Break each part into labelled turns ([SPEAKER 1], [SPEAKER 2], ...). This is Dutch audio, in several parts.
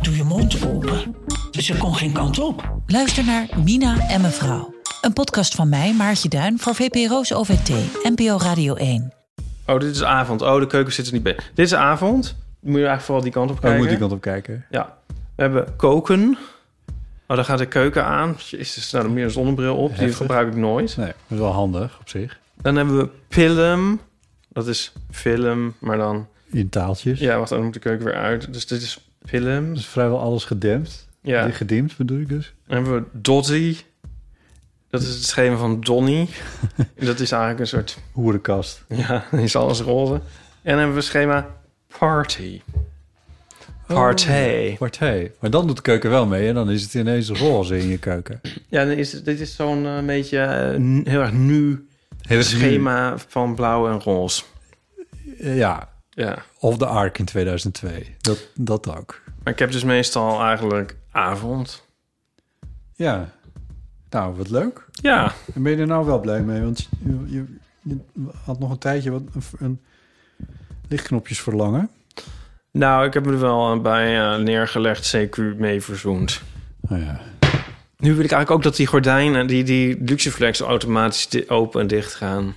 [SPEAKER 1] doe je mond open. Ze kon geen kant op.
[SPEAKER 2] Luister naar Mina en mevrouw. Een podcast van mij, Maartje Duin, voor VPRO's OVT, NPO Radio 1.
[SPEAKER 3] Oh, dit is avond. Oh, de keuken zit er niet bij. Dit is avond. Moet je eigenlijk vooral die kant op
[SPEAKER 4] Daar
[SPEAKER 3] kijken.
[SPEAKER 4] Oh, moet ik altijd op kijken.
[SPEAKER 3] Ja. We hebben koken. Oh, daar gaat de keuken aan. Jezus, nou, dan meer een zonnebril op. Die
[SPEAKER 4] Heftig.
[SPEAKER 3] gebruik ik nooit.
[SPEAKER 4] Nee, dat is wel handig op zich.
[SPEAKER 3] Dan hebben we film. Dat is film, maar dan...
[SPEAKER 4] In taaltjes.
[SPEAKER 3] Ja, wacht, dan moet de keuken weer uit. Dus dit is film.
[SPEAKER 4] Dus vrijwel alles gedempt.
[SPEAKER 3] Ja.
[SPEAKER 4] Gedimd bedoel ik dus.
[SPEAKER 3] Dan hebben we Dottie. Dat is het schema van Donnie. Dat is eigenlijk een soort...
[SPEAKER 4] Hoerenkast.
[SPEAKER 3] Ja, die is alles roze. En dan hebben we schema party.
[SPEAKER 4] Oh.
[SPEAKER 3] Partij.
[SPEAKER 4] Partij. Maar dan doet de keuken wel mee en dan is het ineens roze in je keuken.
[SPEAKER 3] Ja, dan is, dit is zo'n eh, beetje eh, n- heel erg nu
[SPEAKER 4] Hele
[SPEAKER 3] schema van blauw en roze.
[SPEAKER 4] Ja.
[SPEAKER 3] Ja.
[SPEAKER 4] Of de Ark in 2002. Dat, dat ook.
[SPEAKER 3] Maar ik heb dus meestal eigenlijk avond.
[SPEAKER 4] Ja. Nou, wat leuk.
[SPEAKER 3] Ja.
[SPEAKER 4] En ben je er nou wel blij mee? Want je, je, je had nog een tijdje wat een, een lichtknopjes verlangen.
[SPEAKER 3] Nou, ik heb er wel eh, bij eh, neergelegd CQ mee verzoend.
[SPEAKER 4] Oh ja.
[SPEAKER 3] Nu wil ik eigenlijk ook dat die gordijnen, die, die Luxeflex automatisch di- open en dicht gaan.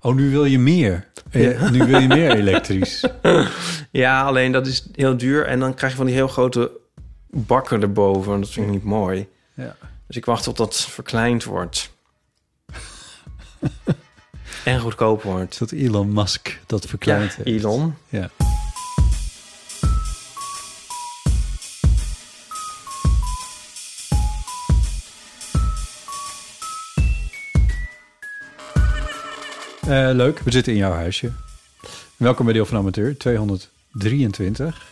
[SPEAKER 4] Oh, nu wil je meer. Eh, Nu wil je meer elektrisch.
[SPEAKER 3] Ja, alleen dat is heel duur. En dan krijg je van die heel grote bakken erboven. En dat vind ik niet mooi.
[SPEAKER 4] Ja.
[SPEAKER 3] Dus ik wacht tot dat verkleind wordt. en goedkoop wordt.
[SPEAKER 4] Dat Elon Musk dat verkleint.
[SPEAKER 3] Ja, Elon.
[SPEAKER 4] Ja. Eh, leuk, we zitten in jouw huisje. Welkom bij Deel van Amateur 223.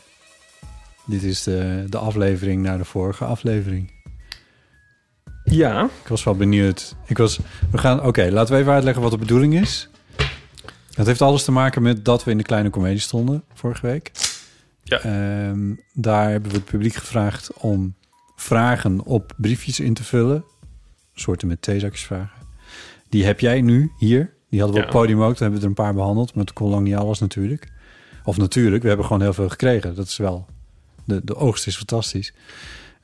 [SPEAKER 4] Dit is de, de aflevering naar de vorige aflevering.
[SPEAKER 3] Ja.
[SPEAKER 4] Ik was wel benieuwd. Ik was, we gaan, oké, laten we even uitleggen wat de bedoeling is. Het heeft alles te maken met dat we in de kleine komedie stonden vorige week.
[SPEAKER 3] Ja.
[SPEAKER 4] Ehm, daar hebben we het publiek gevraagd om vragen op briefjes in te vullen. Soorten met theezakjesvragen. Die heb jij nu hier. Die hadden we
[SPEAKER 3] Ja.
[SPEAKER 4] op het podium ook. Daar hebben we er een paar behandeld. Maar het kon lang niet alles natuurlijk. Of natuurlijk, we hebben gewoon heel veel gekregen. Dat is wel... De, de oogst is fantastisch.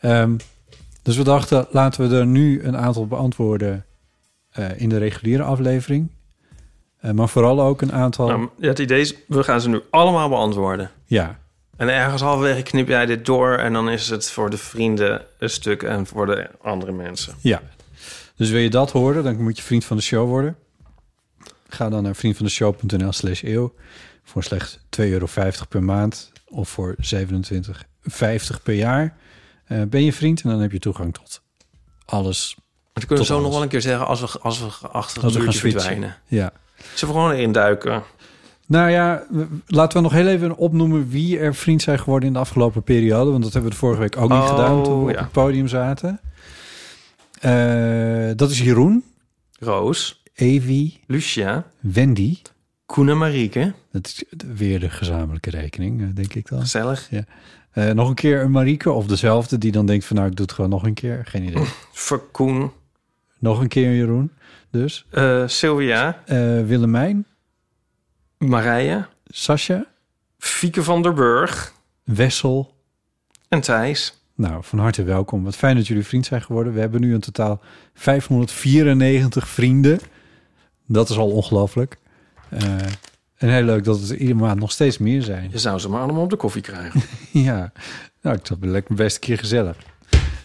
[SPEAKER 4] Ehm, dus we dachten, laten we er nu een aantal beantwoorden eh, in de reguliere aflevering. Eh, maar vooral ook een aantal...
[SPEAKER 3] Nou, het idee is, we gaan ze nu allemaal beantwoorden.
[SPEAKER 4] ja,
[SPEAKER 3] En ergens halverwege knip jij dit door. En dan is het voor de vrienden een stuk en voor de andere mensen.
[SPEAKER 4] Ja. Dus wil je dat horen, dan moet je vriend van de show worden. Ga dan naar vriendvandeshow.nl slash eeuw. Voor slechts 2,50 euro per maand of voor 27,50 per jaar. Eh, ben je vriend en dan heb je toegang tot alles.
[SPEAKER 3] Maar dan kunnen we
[SPEAKER 4] Tot
[SPEAKER 3] zo nog
[SPEAKER 4] alles.
[SPEAKER 3] wel een keer zeggen als we, als we achter
[SPEAKER 4] Als
[SPEAKER 3] het
[SPEAKER 4] we gaan
[SPEAKER 3] muurtje
[SPEAKER 4] switchen.
[SPEAKER 3] verdwijnen.
[SPEAKER 4] Ja.
[SPEAKER 3] Zullen we gewoon erin duiken?
[SPEAKER 4] Nou ja, we- laten we nog heel even opnoemen wie er vriend zijn geworden in de afgelopen periode. Want dat hebben we de vorige week ook niet
[SPEAKER 3] Oh,
[SPEAKER 4] gedaan toen we
[SPEAKER 3] ja.
[SPEAKER 4] op het podium zaten. Eh, dat is Jeroen,
[SPEAKER 3] Roos,
[SPEAKER 4] Evi,
[SPEAKER 3] Lucia,
[SPEAKER 4] Wendy.
[SPEAKER 3] Koen en Marieke.
[SPEAKER 4] Dat is weer de gezamenlijke rekening, eh, denk ik dan.
[SPEAKER 3] Gezellig.
[SPEAKER 4] Eh, nog een keer een Marieke of dezelfde die dan denkt van nou, ik doe het gewoon nog een keer. Geen idee.
[SPEAKER 3] Fuck Koen.
[SPEAKER 4] nog een keer een Jeroen. Dus
[SPEAKER 3] Eh, Sylvia,
[SPEAKER 4] Eh, Willemijn,
[SPEAKER 3] Marije,
[SPEAKER 4] Sascha,
[SPEAKER 3] Fieke van der Burg
[SPEAKER 4] Wessel.
[SPEAKER 3] en Thijs.
[SPEAKER 4] Nou, van harte welkom. Wat fijn dat jullie vriend zijn geworden. We hebben nu in totaal 594 vrienden. Dat is al ongelooflijk. Eh, en heel leuk dat het iedere maand nog steeds meer zijn.
[SPEAKER 3] Je zou ze maar allemaal op de koffie krijgen.
[SPEAKER 4] Ja, nou, ik dacht lekker best een keer gezellig.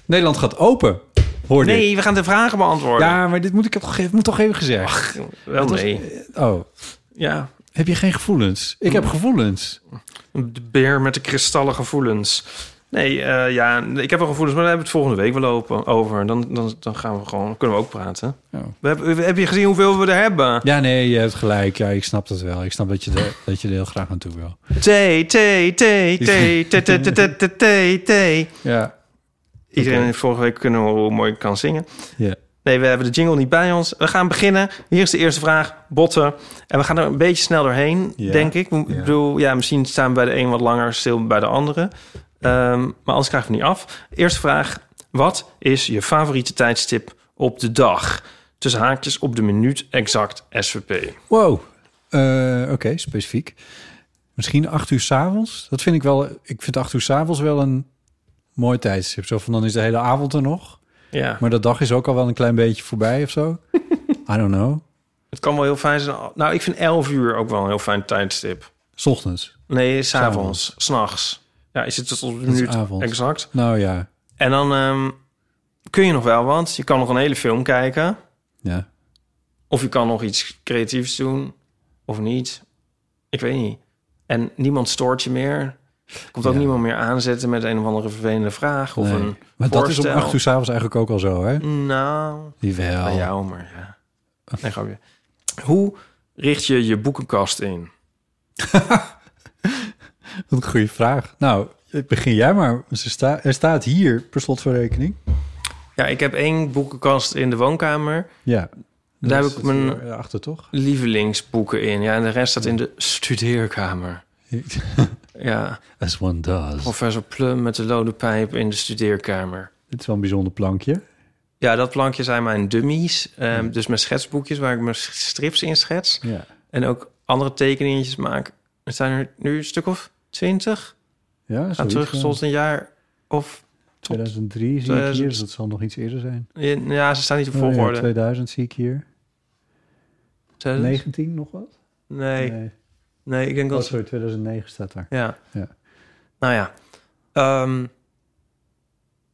[SPEAKER 4] Nederland gaat open, hoorde ik.
[SPEAKER 3] Nee, we gaan de vragen beantwoorden.
[SPEAKER 4] Ja, maar dit moet ik toch, het moet toch even gezegd.
[SPEAKER 3] Wel
[SPEAKER 4] Dat is-
[SPEAKER 3] nee.
[SPEAKER 4] Oh,
[SPEAKER 3] Ja,
[SPEAKER 4] heb je geen gevoelens? Ik heb gevoelens.
[SPEAKER 3] de beer met de kristallen gevoelens. Nee, eh, ja, ik heb wel gevoelens, maar daar hebben we het volgende week wel open, over. Dan, dan, dan gaan we gewoon, kunnen we ook praten.
[SPEAKER 4] Oh.
[SPEAKER 3] We hebben, we- heb je gezien hoeveel we er hebben?
[SPEAKER 4] Ja, nee, je hebt gelijk. Ja, ik snap dat wel. Ik snap dat je er, dat je er heel graag aan toe wil.
[SPEAKER 3] T, T, T, T, T, T, T, T, T, T.
[SPEAKER 4] Ja,
[SPEAKER 3] Iedereen heeft vorige week kunnen horen hoe mooi ik kan zingen.
[SPEAKER 4] Ja.
[SPEAKER 3] Nee, we hebben de jingle niet bij ons. We gaan beginnen. Hier is de eerste vraag, botten. En we gaan er een beetje snel doorheen,
[SPEAKER 4] Ja.
[SPEAKER 3] denk ik. Ik
[SPEAKER 4] Ja.
[SPEAKER 3] bedoel, ja, misschien staan we bij de een wat langer stil dan bij de andere. Ehm, maar anders krijgen we het niet af. Eerste vraag. Wat is je favoriete tijdstip op de dag? Tussen haakjes op de minuut exact SVP.
[SPEAKER 4] Wow. Eh, Oké, specifiek. Misschien acht uur s'avonds. Dat vind ik wel. Ik vind acht uur s'avonds wel een mooi tijdstip. Zo van dan is de hele avond er nog.
[SPEAKER 3] Ja,
[SPEAKER 4] Maar de dag is ook al wel een klein beetje voorbij of zo. I don't know.
[SPEAKER 3] het kan wel heel fijn zijn. Nou, ik vind 11 uur ook wel een heel fijn tijdstip.
[SPEAKER 4] S ochtends.
[SPEAKER 3] Nee, s'avonds,
[SPEAKER 4] S'avonds.
[SPEAKER 3] s'nachts. Ja, is het tot op de
[SPEAKER 4] is
[SPEAKER 3] minuut
[SPEAKER 4] avond.
[SPEAKER 3] exact.
[SPEAKER 4] Nou ja.
[SPEAKER 3] En dan ehm, kun je nog wel, want je kan nog een hele film kijken.
[SPEAKER 4] Ja.
[SPEAKER 3] Of je kan nog iets creatiefs doen. Of niet. Ik weet niet. En niemand stoort je meer. Er Komt ook
[SPEAKER 4] Ja.
[SPEAKER 3] niemand meer aanzetten met een of andere vervelende vraag. Of
[SPEAKER 4] nee.
[SPEAKER 3] een
[SPEAKER 4] Maar dat is om
[SPEAKER 3] voorstel.
[SPEAKER 4] acht uur s'avonds eigenlijk ook al zo, hè?
[SPEAKER 3] Nou,
[SPEAKER 4] Jawel.
[SPEAKER 3] bij jou maar, ja. Nee, grapje. Hoe richt je je boekenkast in?
[SPEAKER 4] Wat een goede vraag. Nou, begin jij maar. Ze sta- er staat hier, per slot van rekening.
[SPEAKER 3] Ja, ik heb één boekenkast in de woonkamer.
[SPEAKER 4] Ja.
[SPEAKER 3] Daar heb
[SPEAKER 4] zit
[SPEAKER 3] ik mijn
[SPEAKER 4] hier eh, achter toch?
[SPEAKER 3] lievelingsboeken in. Ja, en de rest staat in de studeerkamer. Ja,
[SPEAKER 4] As one does.
[SPEAKER 3] professor Plum met de lode pijp in de studeerkamer.
[SPEAKER 4] Dit is wel een bijzonder plankje.
[SPEAKER 3] Ja, dat plankje zijn mijn dummies. ehm, Dus mijn schetsboekjes waar ik mijn strips in schets.
[SPEAKER 4] Ja.
[SPEAKER 3] En ook andere tekeningetjes maak. Er zijn er nu een stuk of twintig.
[SPEAKER 4] Ja,
[SPEAKER 3] Gaan
[SPEAKER 4] zoiets,
[SPEAKER 3] terug
[SPEAKER 4] ja.
[SPEAKER 3] tot een jaar of... tot-
[SPEAKER 4] 2003 zie ik
[SPEAKER 3] 2000.
[SPEAKER 4] hier, dus dat zal nog iets eerder zijn.
[SPEAKER 3] Ja, ze staan niet op
[SPEAKER 4] Oh ja,
[SPEAKER 3] volgorde.
[SPEAKER 4] 2000 zie ik hier.
[SPEAKER 3] 2000?
[SPEAKER 4] 19 nog wat?
[SPEAKER 3] Nee, nee, ik denk
[SPEAKER 4] Oh,
[SPEAKER 3] dat...
[SPEAKER 4] sorry, 2009 staat daar.
[SPEAKER 3] Ja.
[SPEAKER 4] Ja.
[SPEAKER 3] Nou ja. Ehm,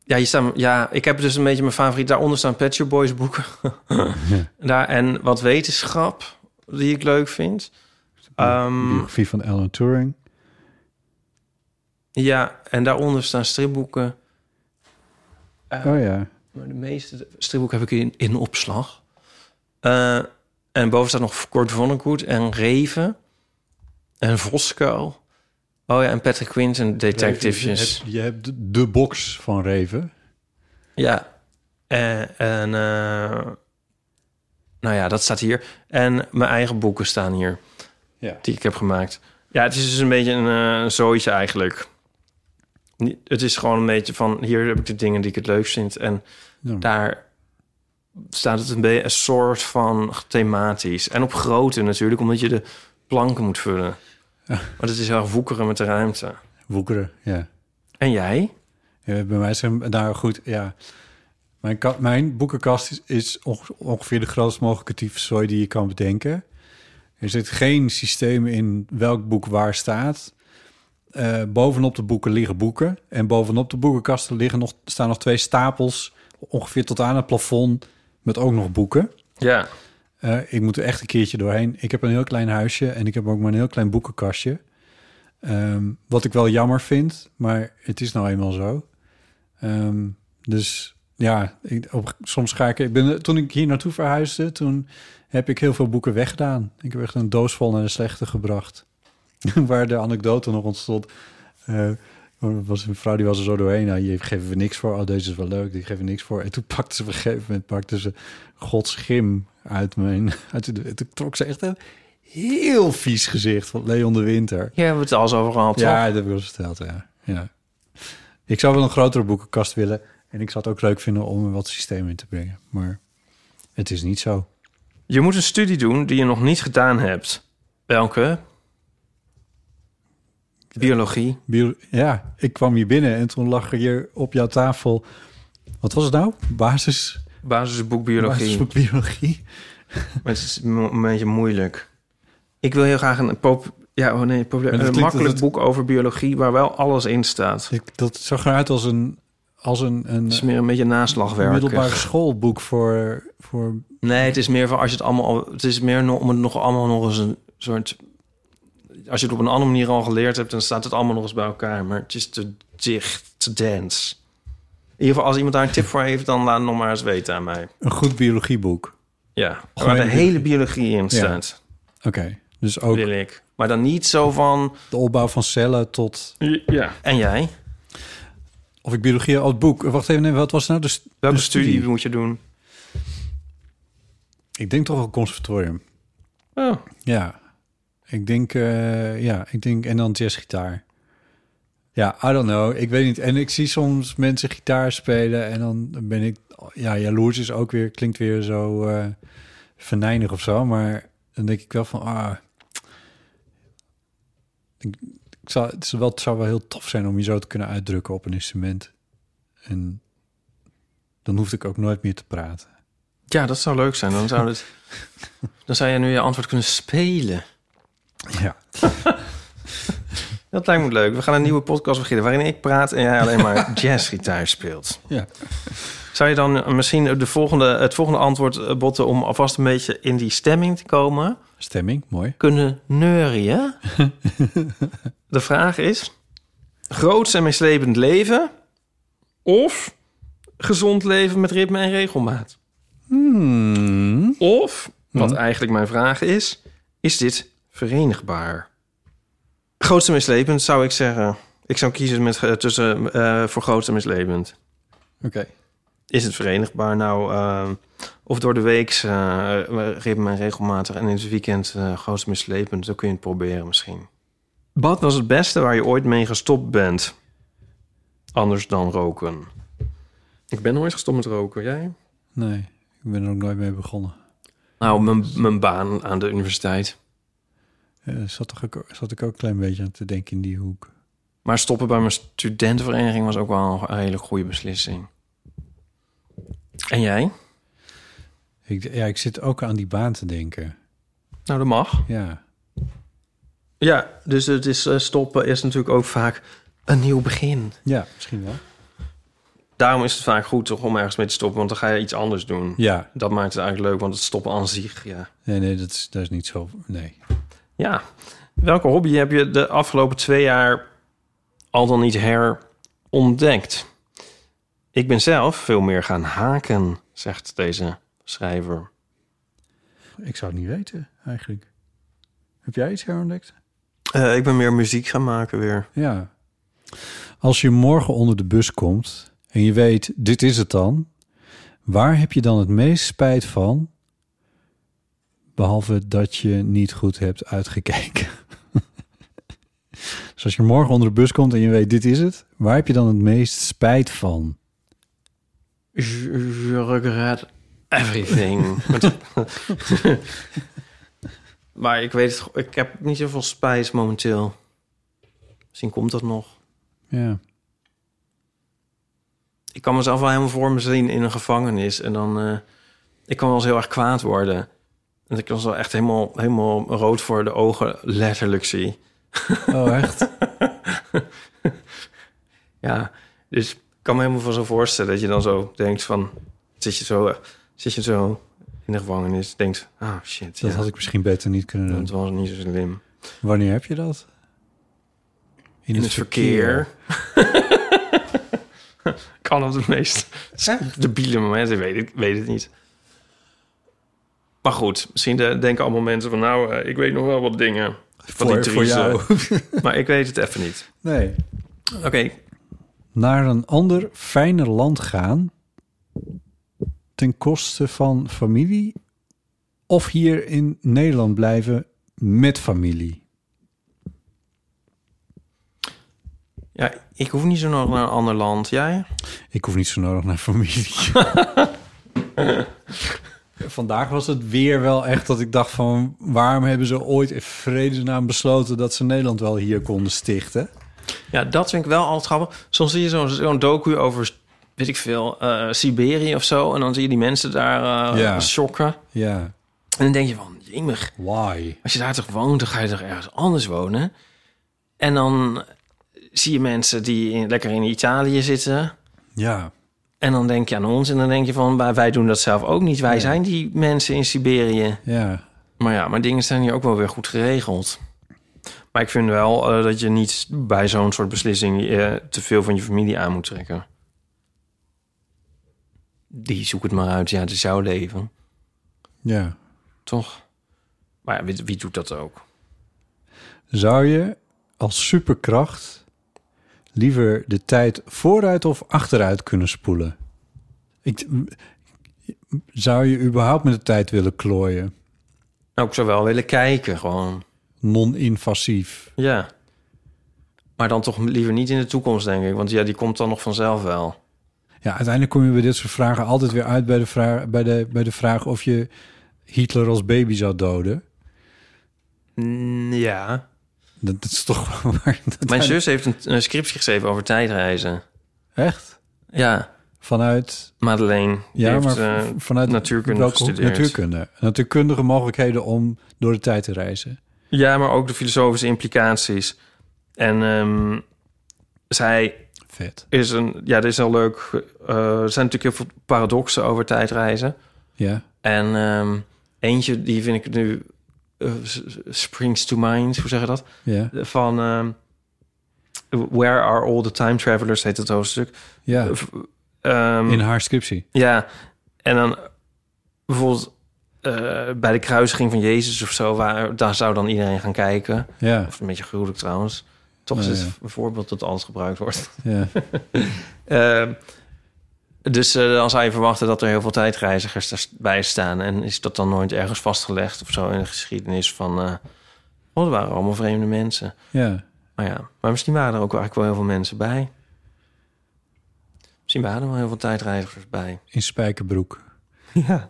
[SPEAKER 3] ja, hier staan, ja, ik heb dus een beetje mijn favoriet. Daaronder staan Pet Shop Boys boeken. Daar, en wat wetenschap, die ik leuk vind. Ehm,
[SPEAKER 4] Biografie van Alan Turing.
[SPEAKER 3] ja, en daaronder staan stripboeken.
[SPEAKER 4] Oh ja.
[SPEAKER 3] Maar de meeste stripboeken heb ik in, in opslag. Eh, en boven staat nog Kort Vonnegut en Reven. En Voskuil. Oh ja, en Patrick Quinton, Detectives.
[SPEAKER 4] Je hebt, je hebt de- de box van Reven.
[SPEAKER 3] Ja. En, en eh, nou ja, dat staat hier. En mijn eigen boeken staan hier,
[SPEAKER 4] Ja.
[SPEAKER 3] die ik heb gemaakt. Ja, het is dus een beetje een eh, zooitje eigenlijk. Niet- Het is gewoon een beetje van, hier heb ik de dingen die ik het leuk vind. En
[SPEAKER 4] Ja.
[SPEAKER 3] daar staat het een beetje een soort van thematisch. En op grootte natuurlijk, omdat je de planken moet vullen. Want het is wel woekeren met de ruimte.
[SPEAKER 4] Woekeren, ja.
[SPEAKER 3] En jij?
[SPEAKER 4] Ja, bij mij zijn, nou goed, ja. Mijn, ka- mijn boekenkast is, is onge- ongeveer de grootst mogelijke tyfuszooi die je kan bedenken. Er zit geen systeem in welk boek waar staat. Eh, bovenop de boeken liggen boeken. En bovenop de boekenkasten liggen nog, staan nog twee stapels, ongeveer tot aan het plafond, met ook nog boeken.
[SPEAKER 3] Ja.
[SPEAKER 4] Eh, ik moet er echt een keertje doorheen. Ik heb een heel klein huisje en ik heb ook maar een heel klein boekenkastje. Ehm, wat ik wel jammer vind, maar het is nou eenmaal zo. Ehm, dus ja, ik, op, soms ga ik... ik ben, toen ik hier naartoe verhuisde, toen heb ik heel veel boeken weggedaan. Ik heb echt een doos vol naar de slechte gebracht. Waar de anekdote nog ontstond. Eh, er was een vrouw die was er zo doorheen. Nou, hier geven we niks voor. Oh, deze is wel leuk. Die geven we niks voor. En toen pakte ze op een gegeven moment pakte ze Gods gym uit mijn. Uit de, toen trok ze echt een heel vies gezicht van Leon de Winter.
[SPEAKER 3] Hier hebben we het al eens over gehad,
[SPEAKER 4] Ja,
[SPEAKER 3] toch?
[SPEAKER 4] dat heb ik al eens verteld. Ja. ja. Ik zou wel een grotere boekenkast willen. En ik zou het ook leuk vinden om er wat systeem in te brengen. Maar het is niet zo.
[SPEAKER 3] Je moet een studie doen die je nog niet gedaan hebt. Welke? Biologie.
[SPEAKER 4] Bio- Ja, ik kwam hier binnen en toen lag er hier op jouw tafel. Wat was het nou? Basis.
[SPEAKER 3] Basisboek biologie.
[SPEAKER 4] Basisboek biologie.
[SPEAKER 3] Maar Het is mo- een beetje moeilijk. Ik wil heel graag een, pop ja, oh nee, populair-
[SPEAKER 4] Maar dat
[SPEAKER 3] een
[SPEAKER 4] klinkt
[SPEAKER 3] makkelijk
[SPEAKER 4] als
[SPEAKER 3] boek over biologie... waar wel alles in staat.
[SPEAKER 4] Ik, dat zag eruit als een, als een, een
[SPEAKER 3] Het is meer een beetje naslagwerk.
[SPEAKER 4] middelbare schoolboek voor, voor...
[SPEAKER 3] Nee, het is meer van als je het allemaal al, het is meer nog- om het nog allemaal nog eens een soort als je het op een andere manier al geleerd hebt, dan staat het allemaal nog eens bij elkaar, maar het is te dicht, te dens. In ieder geval als iemand daar een tip voor heeft, dan laat het nog maar eens weten aan mij.
[SPEAKER 4] een goed biologieboek.
[SPEAKER 3] Ja, waar
[SPEAKER 4] Gewoon
[SPEAKER 3] de
[SPEAKER 4] een-
[SPEAKER 3] hele biologie in staat,
[SPEAKER 4] Oké, dus ook
[SPEAKER 3] wil ik. Maar dan niet zo van
[SPEAKER 4] de opbouw van cellen tot...
[SPEAKER 3] ja. En jij?
[SPEAKER 4] Of ik biologie, oh, het boek. Eh, Wacht even, nee, wat was nou de, st-
[SPEAKER 3] Welke
[SPEAKER 4] de
[SPEAKER 3] studie, moet je doen?
[SPEAKER 4] Ik denk toch wel conservatorium.
[SPEAKER 3] Oh,
[SPEAKER 4] Ja. Ik denk, eh, ja, ik denk, en dan jazzgitaar. Ja, I don't know. Ik weet niet. En ik zie soms mensen gitaar spelen en dan ben ik, ja, jaloers is ook weer, klinkt weer zo eh venijnig of zo. Maar dan denk ik wel van, ah, ik, ik zou, het, is wel, het zou wel heel tof zijn om je zo te kunnen uitdrukken op een instrument. En dan hoefde ik ook nooit meer te praten.
[SPEAKER 3] ja, dat zou leuk zijn. Dan zou, het, dan zou je nu je antwoord kunnen spelen.
[SPEAKER 4] Ja.
[SPEAKER 3] Dat lijkt me leuk. We gaan een nieuwe podcast beginnen waarin ik praat en jij alleen maar jazzgitaar speelt.
[SPEAKER 4] Ja.
[SPEAKER 3] Zou je dan eh, misschien de volgende, het volgende antwoord eh, botten om alvast een beetje in die stemming te komen?
[SPEAKER 4] Stemming, mooi.
[SPEAKER 3] kunnen neurien? De vraag is: groots en meeslepend leven of gezond leven met ritme en regelmaat?
[SPEAKER 4] Hmm.
[SPEAKER 3] Of, wat
[SPEAKER 4] Mhm.
[SPEAKER 3] eigenlijk mijn vraag is, is dit verenigbaar? Groots en meeslepend zou ik zeggen. Ik zou kiezen met, eh, tussen, eh, voor groots en meeslepend.
[SPEAKER 4] Oké.
[SPEAKER 3] Is het verenigbaar? Nou, ehm, of door de week eh, ritme en regelmatig en in het weekend eh groots mislepend. Dan kun je het proberen misschien. Wat was het beste waar je ooit mee gestopt bent? Anders dan roken. Ik ben nooit gestopt met roken. Jij?
[SPEAKER 4] Nee, ik ben er ook nooit mee begonnen.
[SPEAKER 3] Nou, mijn, mijn baan aan de universiteit.
[SPEAKER 4] Eh, zat, toch ook, zat ik ook een klein beetje aan te denken in die hoek.
[SPEAKER 3] Maar stoppen bij mijn studentenvereniging was ook wel een hele goede beslissing. En jij?
[SPEAKER 4] Ik, ja, ik zit ook aan die baan te denken.
[SPEAKER 3] Nou, dat mag.
[SPEAKER 4] Ja,
[SPEAKER 3] Ja, dus het is, eh, stoppen is natuurlijk ook vaak een nieuw begin.
[SPEAKER 4] ja misschien wel.
[SPEAKER 3] Daarom is het vaak goed toch om ergens mee te stoppen, want dan ga je iets anders doen.
[SPEAKER 4] Ja,
[SPEAKER 3] Dat maakt het eigenlijk leuk, want het stoppen aan zich, ja.
[SPEAKER 4] nee, nee, dat is, dat is niet zo... Nee.
[SPEAKER 3] Ja. Welke hobby heb je de afgelopen twee jaar al dan niet herontdekt? Ik ben zelf veel meer gaan haken, zegt deze schrijver.
[SPEAKER 4] Ik zou het niet weten, eigenlijk. Heb jij iets herontdekt?
[SPEAKER 3] Eh, ik ben meer muziek gaan maken weer.
[SPEAKER 4] Ja. Als je morgen onder de bus komt en je weet, dit is het dan. Waar heb je dan het meest spijt van? Behalve dat je niet goed hebt uitgekeken. dus als je morgen onder de bus komt en je weet, dit is het. Waar heb je dan het meest spijt van?
[SPEAKER 3] Je, je regret everything. maar ik weet, het- ik heb niet zoveel spijt momenteel. Misschien komt dat nog.
[SPEAKER 4] Ja.
[SPEAKER 3] ik kan mezelf wel helemaal voor me zien in een gevangenis. En dan, eh, ik kan wel eens heel erg kwaad worden. En ik kan zo echt helemaal, helemaal rood voor de ogen letterlijk zie.
[SPEAKER 4] Oh, echt?
[SPEAKER 3] Ja, dus ik kan me helemaal van zo voorstellen dat je dan zo denkt van... Zit je zo, eh, zit je zo in de gevangenis, denkt... Ah, shit,
[SPEAKER 4] Dat
[SPEAKER 3] ja,
[SPEAKER 4] had ik misschien beter niet kunnen doen.
[SPEAKER 3] dat was niet zo slim.
[SPEAKER 4] Wanneer heb je dat?
[SPEAKER 3] In het, verkeer. kan op de meest debiele momenten, ik weet, ik weet het niet. Maar goed, misschien de- denken allemaal mensen van... nou, eh, ik weet nog wel wat dingen van
[SPEAKER 4] Voor,
[SPEAKER 3] die
[SPEAKER 4] voor
[SPEAKER 3] trieste.
[SPEAKER 4] jou.
[SPEAKER 3] Maar ik weet het even niet.
[SPEAKER 4] Nee.
[SPEAKER 3] Oké,
[SPEAKER 4] naar een ander fijner land gaan ten koste van familie of hier in Nederland blijven met familie?
[SPEAKER 3] ja, ik hoef niet zo nog naar een ander land. Jij?
[SPEAKER 4] Ik hoef niet zo nodig naar familie. Vandaag was het weer wel echt dat ik dacht van... waarom hebben ze ooit in vredesnaam besloten... dat ze Nederland wel hier konden stichten?
[SPEAKER 3] Ja, dat vind ik wel altijd grappig. Soms zie je zo'n zo'n docu over, weet ik veel, eh, Siberië of zo... en dan zie je die mensen daar eh
[SPEAKER 4] Ja.
[SPEAKER 3] shocken. En
[SPEAKER 4] Ja,
[SPEAKER 3] dan denk je van, jemig...
[SPEAKER 4] why?
[SPEAKER 3] Als je daar toch woont, dan ga je toch ergens anders wonen. En dan zie je mensen die in- lekker in Italië zitten.
[SPEAKER 4] Ja,
[SPEAKER 3] En dan denk je aan ons en dan denk je van... wij- wij doen dat zelf ook niet. Wij zijn die mensen in Siberië.
[SPEAKER 4] ja.
[SPEAKER 3] Maar ja, maar dingen zijn hier ook wel weer goed geregeld. Maar ik vind wel eh, dat je niet bij zo'n soort beslissing... eh, te veel van je familie aan moet trekken. Die zoek het maar uit. Ja, het is jouw leven.
[SPEAKER 4] ja.
[SPEAKER 3] Toch? Maar ja, wie, wie doet dat ook?
[SPEAKER 4] Zou je als superkracht liever de tijd vooruit of achteruit kunnen spoelen? Ik, zou je überhaupt met de tijd willen klooien?
[SPEAKER 3] Nou, ik zou wel willen kijken, gewoon.
[SPEAKER 4] Non-invasief.
[SPEAKER 3] Ja. Maar dan toch liever niet in de toekomst, denk ik. Want ja, die komt dan nog vanzelf wel.
[SPEAKER 4] Ja, uiteindelijk kom je bij dit soort vragen altijd weer uit bij de vraag, bij de, bij de vraag of je Hitler als baby zou doden.
[SPEAKER 3] Mm, Ja.
[SPEAKER 4] Dat, dat is toch waar. dat
[SPEAKER 3] Mijn
[SPEAKER 4] hij-
[SPEAKER 3] zus heeft een, een scriptje geschreven over tijdreizen.
[SPEAKER 4] Echt?
[SPEAKER 3] Ja.
[SPEAKER 4] Vanuit.
[SPEAKER 3] Madeleine. die
[SPEAKER 4] Ja,
[SPEAKER 3] heeft,
[SPEAKER 4] maar
[SPEAKER 3] eh,
[SPEAKER 4] v- vanuit
[SPEAKER 3] natuurkunde
[SPEAKER 4] welke hoek?
[SPEAKER 3] gestudeerd.
[SPEAKER 4] natuurkunde. Natuurkundige mogelijkheden om door de tijd te reizen.
[SPEAKER 3] Ja, maar ook de filosofische implicaties. En ehm, zij
[SPEAKER 4] Vet.
[SPEAKER 3] is een... Ja, dit is heel leuk. Eh, er zijn natuurlijk heel veel paradoxen over tijdreizen.
[SPEAKER 4] Ja.
[SPEAKER 3] En ehm, eentje, die vind ik nu... eh, s- s- springs to mind, hoe zeg je dat?
[SPEAKER 4] Ja.
[SPEAKER 3] Van... ehm, Where are all the time travelers, heet het hoofdstuk.
[SPEAKER 4] Ja.
[SPEAKER 3] V- ehm,
[SPEAKER 4] In haar scriptie.
[SPEAKER 3] Ja, en dan bijvoorbeeld eh, bij de kruisiging van Jezus of zo, waar, daar zou dan iedereen gaan kijken.
[SPEAKER 4] Ja.
[SPEAKER 3] Of een beetje gruwelijk trouwens. Toch
[SPEAKER 4] Nou,
[SPEAKER 3] is het
[SPEAKER 4] ja.
[SPEAKER 3] een voorbeeld dat alles gebruikt wordt.
[SPEAKER 4] ja.
[SPEAKER 3] Ehm, dus eh, dan zou je verwachten dat er heel veel tijdreizigers bij staan. En is dat dan nooit ergens vastgelegd of zo in de geschiedenis van... eh oh, er waren allemaal vreemde mensen.
[SPEAKER 4] ja.
[SPEAKER 3] Maar ja, maar misschien waren er ook eigenlijk wel heel veel mensen bij. Misschien waren er wel heel veel tijdreizigers bij.
[SPEAKER 4] In spijkerbroek.
[SPEAKER 3] Ja.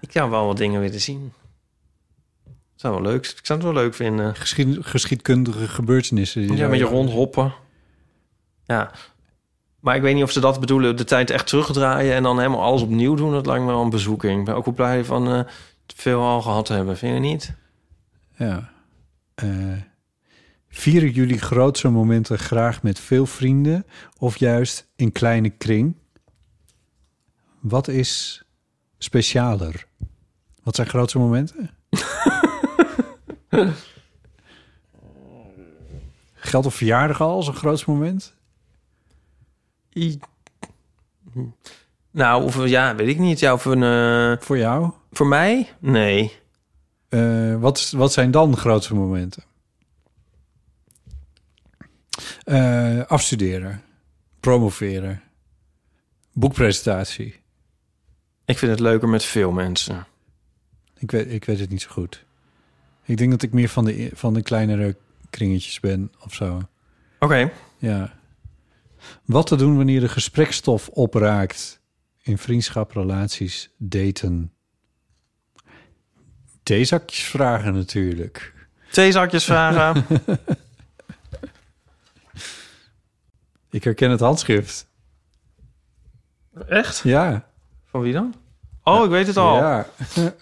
[SPEAKER 3] Ik zou wel wat dingen willen zien. Zou wel leuk. Ik zou het wel leuk vinden.
[SPEAKER 4] Geschied, geschiedkundige gebeurtenissen. die
[SPEAKER 3] Ja,
[SPEAKER 4] daar-
[SPEAKER 3] met je rondhoppen. Ja. Maar ik weet niet of ze dat bedoelen. De tijd echt terugdraaien en dan helemaal alles opnieuw doen. Dat lijkt me wel een bezoeking. Ik ben ook wel blij van eh, het veel al gehad hebben. Vind je niet?
[SPEAKER 4] Ja. Eh, vieren jullie grootse momenten graag met veel vrienden of juist in kleine kring? Wat is specialer? Wat zijn grootste momenten? Geldt een verjaardag al als een groot moment?
[SPEAKER 3] I- Nou, of, ja, weet ik niet. Ja, of een, eh,
[SPEAKER 4] Voor jou?
[SPEAKER 3] voor mij? Nee.
[SPEAKER 4] Eh, wat, is- wat zijn dan grootste momenten? Eh, afstuderen, promoveren, boekpresentatie.
[SPEAKER 3] Ik vind het leuker met veel mensen.
[SPEAKER 4] Ik weet, ik weet het niet zo goed. Ik denk dat ik meer van de, van de kleinere kringetjes ben of zo.
[SPEAKER 3] Oké.
[SPEAKER 4] Ja. Wat te doen wanneer de gesprekstof opraakt in vriendschap, relaties, daten? Theezakjes vragen natuurlijk.
[SPEAKER 3] Twee zakjes vragen.
[SPEAKER 4] Ik herken het handschrift.
[SPEAKER 3] Echt?
[SPEAKER 4] Ja.
[SPEAKER 3] Van wie dan? Oh, ik weet het al. Ehm,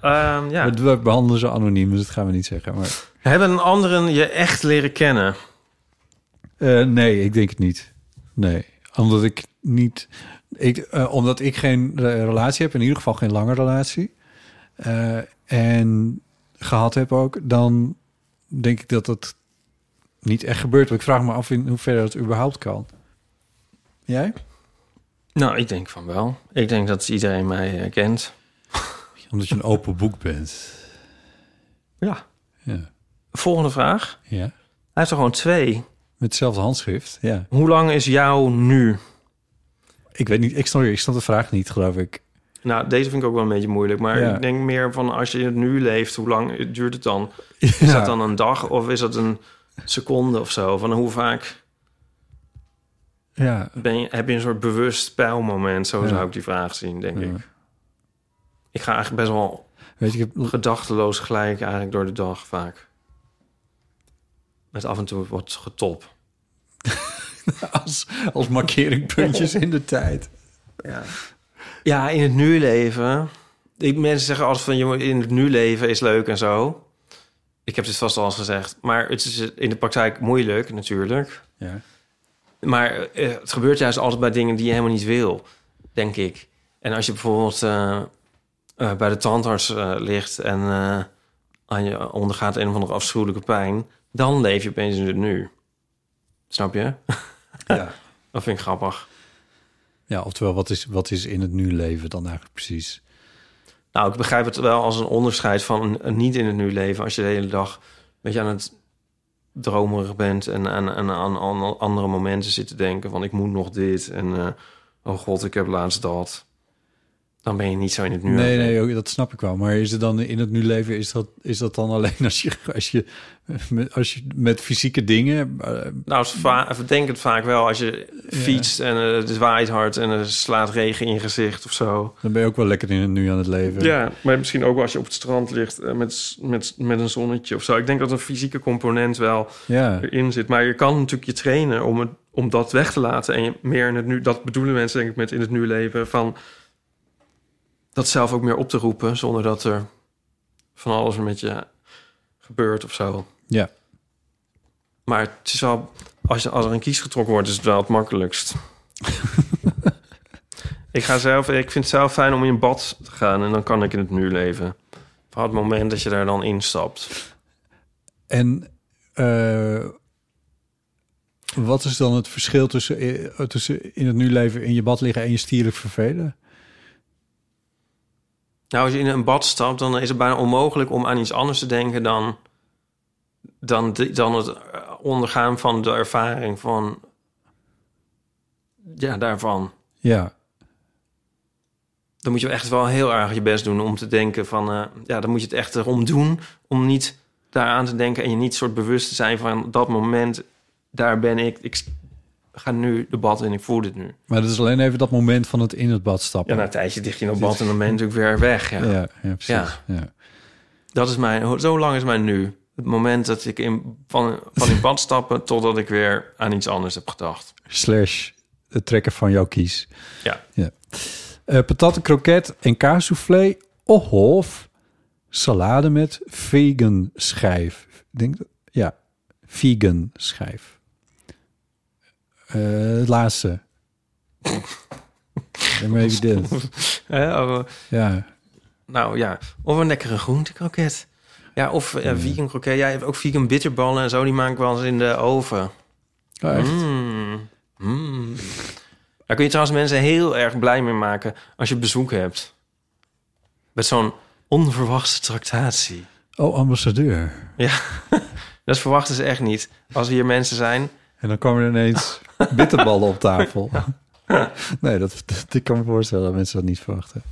[SPEAKER 3] Ja.
[SPEAKER 4] Ja. We, we behandelen ze anoniem, dus dat gaan we niet zeggen. Maar,
[SPEAKER 3] Hebben een anderen je echt leren kennen?
[SPEAKER 4] Eh, nee, ik denk het niet. Nee, omdat ik niet... Ik, eh, omdat ik geen re- relatie heb, in ieder geval geen lange relatie... eh, en gehad heb ook, dan denk ik dat dat niet echt gebeurt. Want ik vraag me af in hoeverre dat überhaupt kan. Jij?
[SPEAKER 3] Nou, ik denk van wel. Ik denk dat iedereen mij eh, kent.
[SPEAKER 4] Omdat je een open boek bent.
[SPEAKER 3] Ja.
[SPEAKER 4] Ja.
[SPEAKER 3] Volgende vraag.
[SPEAKER 4] ja.
[SPEAKER 3] Hij heeft er gewoon twee.
[SPEAKER 4] Met hetzelfde handschrift, ja.
[SPEAKER 3] Hoe lang is jou nu?
[SPEAKER 4] Ik weet niet, ik snap, ik snap de vraag niet, geloof ik.
[SPEAKER 3] Nou, deze vind ik ook wel een beetje moeilijk. Maar
[SPEAKER 4] Ja.
[SPEAKER 3] ik denk meer van als je het nu leeft, hoe lang duurt het dan? Is
[SPEAKER 4] Ja.
[SPEAKER 3] dat dan een dag of is dat een seconde of zo? Van hoe vaak
[SPEAKER 4] Ja,
[SPEAKER 3] ben je, heb je een soort bewust pijlmoment? Zo
[SPEAKER 4] Ja.
[SPEAKER 3] zou ik die vraag zien, denk
[SPEAKER 4] Ja.
[SPEAKER 3] ik. Ik ga eigenlijk best wel
[SPEAKER 4] weet je, ik heb
[SPEAKER 3] gedachteloos gelijk eigenlijk door de dag vaak. Met af en toe wat getop.
[SPEAKER 4] als, als markeringpuntjes in de tijd.
[SPEAKER 3] Ja. ja, in het nu leven. Ik, mensen zeggen altijd van, jongen, in het nu leven is leuk en zo. Ik heb dit vast al eens gezegd. Maar het is in de praktijk moeilijk natuurlijk.
[SPEAKER 4] Ja.
[SPEAKER 3] Maar eh, het gebeurt juist altijd bij dingen die je helemaal niet wil, denk ik. En als je bijvoorbeeld eh, eh, bij de tandarts eh, ligt en eh, aan je ondergaat een of andere afschuwelijke pijn, dan leef je opeens in het nu. Snap je?
[SPEAKER 4] Ja.
[SPEAKER 3] Dat vind ik grappig.
[SPEAKER 4] ja, oftewel, wat is, wat is in het nu leven dan eigenlijk precies?
[SPEAKER 3] Nou, ik begrijp het wel als een onderscheid van een, een niet in het nu leven. Als je de hele dag een beetje aan het dromerig bent en aan, aan, aan, aan andere momenten zit te denken van ik moet nog dit en eh, oh god, ik heb laatst dat. Dan ben je niet zo in het nu.
[SPEAKER 4] Nee, nee, ook- dat snap ik wel. Maar is het dan in het nu leven, is dat, is dat dan alleen als je, als je, met- als je met fysieke dingen... eh,
[SPEAKER 3] Nou, het is va- ik denk het vaak wel als je fietst en eh, het waait hard en er slaat regen in je gezicht of zo.
[SPEAKER 4] dan ben je ook wel lekker in het nu aan het leven.
[SPEAKER 3] Ja, maar misschien ook wel als je op het strand ligt eh, met, met, met een zonnetje of zo. Ik denk dat een fysieke component wel
[SPEAKER 4] Ja.
[SPEAKER 3] erin zit. Maar je kan natuurlijk je trainen om, het, om dat weg te laten. En je meer in het nu, dat bedoelen mensen denk ik met in het nu leven. Van dat zelf ook meer op te roepen zonder dat er van alles met je gebeurt of zo.
[SPEAKER 4] Ja.
[SPEAKER 3] Maar het is wel, als, je- als er een kies getrokken wordt, is het wel het makkelijkst. ik, ga zelf, ik vind het zelf fijn om in bad te gaan en dan kan ik in het nu leven. Vooral het moment dat je daar dan instapt.
[SPEAKER 4] En eh, wat is dan het verschil tussen, eh, tussen in het nu leven in je bad liggen en je stierlijk vervelen?
[SPEAKER 3] Nou, als je in een bad stapt, dan is het bijna onmogelijk om aan iets anders te denken dan, dan, di- dan het eh, ondergaan van de ervaring van. Ja, daarvan.
[SPEAKER 4] Ja,
[SPEAKER 3] dan moet je echt wel heel erg je best doen om te denken van... eh, ja, dan moet je het echt erom doen om niet daaraan te denken... en je niet soort bewust te zijn van dat moment, daar ben ik. Ik ga nu de bad in, ik voel dit nu.
[SPEAKER 4] maar dat is alleen even dat moment van het in het bad
[SPEAKER 3] Ja,
[SPEAKER 4] stappen.
[SPEAKER 3] na een tijdje dicht je in de bad en dan ben je natuurlijk weer weg. Ja.
[SPEAKER 4] ja, ja, precies.
[SPEAKER 3] Ja.
[SPEAKER 4] ja.
[SPEAKER 3] Dat is mijn, zo lang is mijn nu. Het moment dat ik in, van, van in bad stappen totdat ik weer aan iets anders heb gedacht.
[SPEAKER 4] slash het trekken van jouw kies.
[SPEAKER 3] Ja.
[SPEAKER 4] ja. Eh, patat, kroket en kaassoufflé of salade met vegan schijf. Ik Denk, dat- ja, vegan schijf. Eh, het laatste. En maybe dit.
[SPEAKER 3] Hè, over-
[SPEAKER 4] Ja,
[SPEAKER 3] Nou ja, of een lekkere groentekroket. Ja, of eh, vegan kroket. Jij hebt ook vegan bitterballen en zo. Die maak ik wel eens in de oven.
[SPEAKER 4] Oh, echt?
[SPEAKER 3] Mm. Mm. Daar kun je trouwens mensen heel erg blij mee maken als je bezoek hebt. Met zo'n onverwachte tractatie.
[SPEAKER 4] Oh, ambassadeur.
[SPEAKER 3] Ja, dat verwachten ze echt niet. Als hier mensen zijn.
[SPEAKER 4] En dan kwamen er ineens bitterballen op tafel. nee, dat, dat- ik kan me voorstellen dat mensen dat niet verwachten.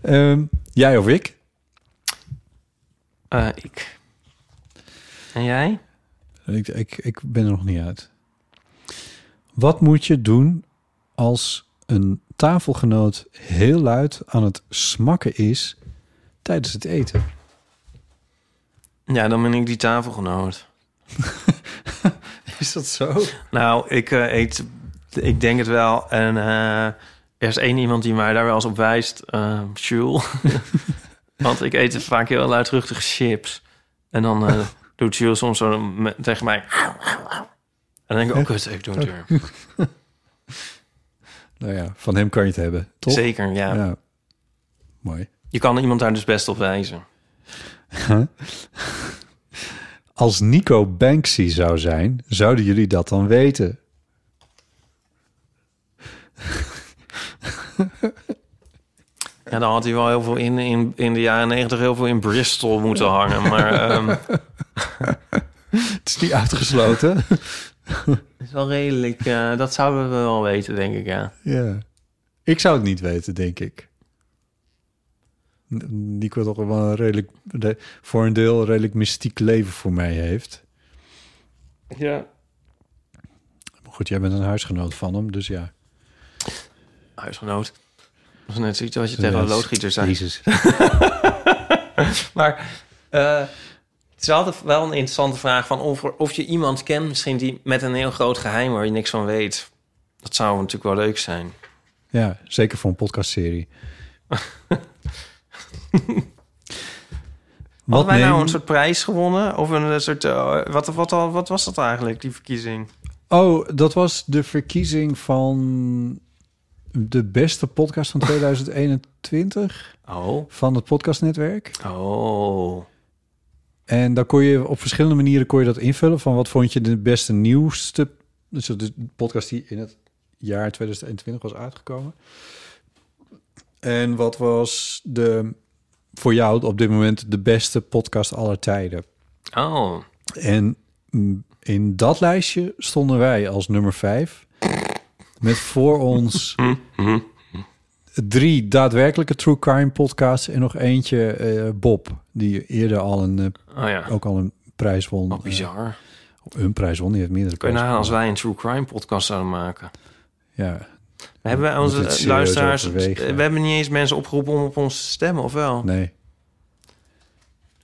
[SPEAKER 4] Ehm, jij of ik?
[SPEAKER 3] eh, ik. En jij?
[SPEAKER 4] Ik, ik, ik ben er nog niet uit. Wat moet je doen als een tafelgenoot heel luid aan het smakken is tijdens het eten?
[SPEAKER 3] Ja, dan ben ik die tafelgenoot.
[SPEAKER 4] Is dat zo?
[SPEAKER 3] Nou, ik eh, eet, ik denk het wel. En eh, er is één iemand die mij daar wel eens op wijst, eh Jules. Want ik eet vaak heel luidruchtige chips. En dan eh, doet Jules soms zo me- tegen mij. En dan denk ik, oh kut, ik doe het weer.
[SPEAKER 4] Nou ja, van hem kan je het hebben, toch?
[SPEAKER 3] Zeker, ja.
[SPEAKER 4] Ja. Mooi.
[SPEAKER 3] Je kan iemand daar dus best op wijzen.
[SPEAKER 4] Als Nico Banksy zou zijn, zouden jullie dat dan weten?
[SPEAKER 3] Ja, dan had hij wel heel veel in, in, in de jaren negentig heel veel in Bristol moeten hangen. Maar ehm, het
[SPEAKER 4] Het is niet uitgesloten.
[SPEAKER 3] is wel redelijk, eh, dat zouden we wel weten, denk ik, ja.
[SPEAKER 4] ja. Ik zou het niet weten, denk ik. N- Nico toch wel een redelijk, de- voor een deel een redelijk mystiek leven voor mij heeft.
[SPEAKER 3] Ja.
[SPEAKER 4] Maar goed, jij bent een huisgenoot van hem, dus ja.
[SPEAKER 3] Huisgenoot. Dat is net zoiets wat je tegen een
[SPEAKER 4] Ja,
[SPEAKER 3] loodgieter zei.
[SPEAKER 4] Jezus.
[SPEAKER 3] Maar eh, het is altijd wel een interessante vraag van of, er- of je iemand kent, misschien die met een heel groot geheim waar je niks van weet. Dat zou natuurlijk wel leuk zijn.
[SPEAKER 4] Ja, zeker voor een podcastserie.
[SPEAKER 3] Hadden wij nou
[SPEAKER 4] neem-
[SPEAKER 3] een soort prijs gewonnen? Of een eh, soort. eh, wat, wat, al wat was dat eigenlijk, die verkiezing?
[SPEAKER 4] Oh, dat was de verkiezing van de beste podcast van 2021
[SPEAKER 3] Oh.
[SPEAKER 4] van het podcastnetwerk.
[SPEAKER 3] Oh.
[SPEAKER 4] En dan kon je op verschillende manieren kon je dat invullen. Van wat vond je de beste nieuwste... Dus de podcast die in het jaar 2021 was uitgekomen. En wat was de, voor jou op dit moment de beste podcast aller tijden?
[SPEAKER 3] Oh.
[SPEAKER 4] En mm, in dat lijstje stonden wij als nummer vijf. Met voor ons drie daadwerkelijke True Crime podcasts en nog eentje eh, Bob, die eerder al een, eh,
[SPEAKER 3] Oh ja,
[SPEAKER 4] ook al een prijs won.
[SPEAKER 3] wat Oh, bizar.
[SPEAKER 4] Eh, een prijs won, die heeft meerdere
[SPEAKER 3] Kun je
[SPEAKER 4] prijzen
[SPEAKER 3] nagaan als
[SPEAKER 4] gewonnen.
[SPEAKER 3] wij een true crime podcast zouden maken.
[SPEAKER 4] Ja,
[SPEAKER 3] Hebben wij
[SPEAKER 4] Moeten we het
[SPEAKER 3] onze
[SPEAKER 4] serieus
[SPEAKER 3] luisteraars...
[SPEAKER 4] overwegen, ja.
[SPEAKER 3] We hebben niet eens mensen opgeroepen om op ons te stemmen, of wel?
[SPEAKER 4] nee.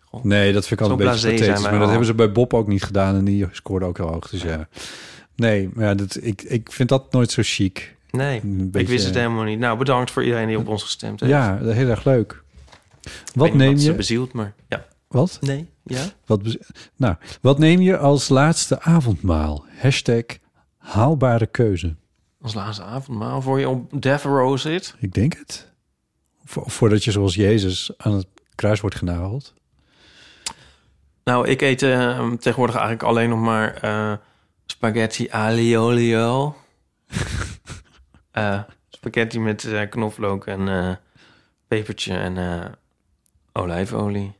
[SPEAKER 3] Goh.
[SPEAKER 4] Nee, dat vind ik
[SPEAKER 3] Zo
[SPEAKER 4] altijd een
[SPEAKER 3] blasé
[SPEAKER 4] beetje
[SPEAKER 3] zijn
[SPEAKER 4] pathetisch.
[SPEAKER 3] wij
[SPEAKER 4] Maar dat
[SPEAKER 3] al.
[SPEAKER 4] hebben ze bij Bob ook niet gedaan en die scoorde ook heel hoog. Dus ja. Nee, maar ja, dat, ik, ik vind dat nooit zo chic.
[SPEAKER 3] Nee,
[SPEAKER 4] Een
[SPEAKER 3] ik
[SPEAKER 4] beetje-
[SPEAKER 3] wist het helemaal niet. Nou, bedankt voor iedereen die op ons gestemd heeft. Ik
[SPEAKER 4] Ja, heel erg leuk.
[SPEAKER 3] weet
[SPEAKER 4] Wat
[SPEAKER 3] niet
[SPEAKER 4] neem
[SPEAKER 3] Ze
[SPEAKER 4] je?
[SPEAKER 3] bezield, maar... Ja,
[SPEAKER 4] Wat?
[SPEAKER 3] nee, ja.
[SPEAKER 4] Wat, bez- nou, wat neem je als laatste avondmaal? Hashtag haalbare keuze.
[SPEAKER 3] Als laatste avondmaal voor je op Death Row zit.
[SPEAKER 4] Ik denk het. Vo- voordat je zoals Jezus aan het kruis wordt genageld.
[SPEAKER 3] Nou, ik eet eh, tegenwoordig eigenlijk alleen nog maar eh, spaghetti aliolio. Eh spaghetti met eh, knoflook en eh, pepertje en eh, olijfolie.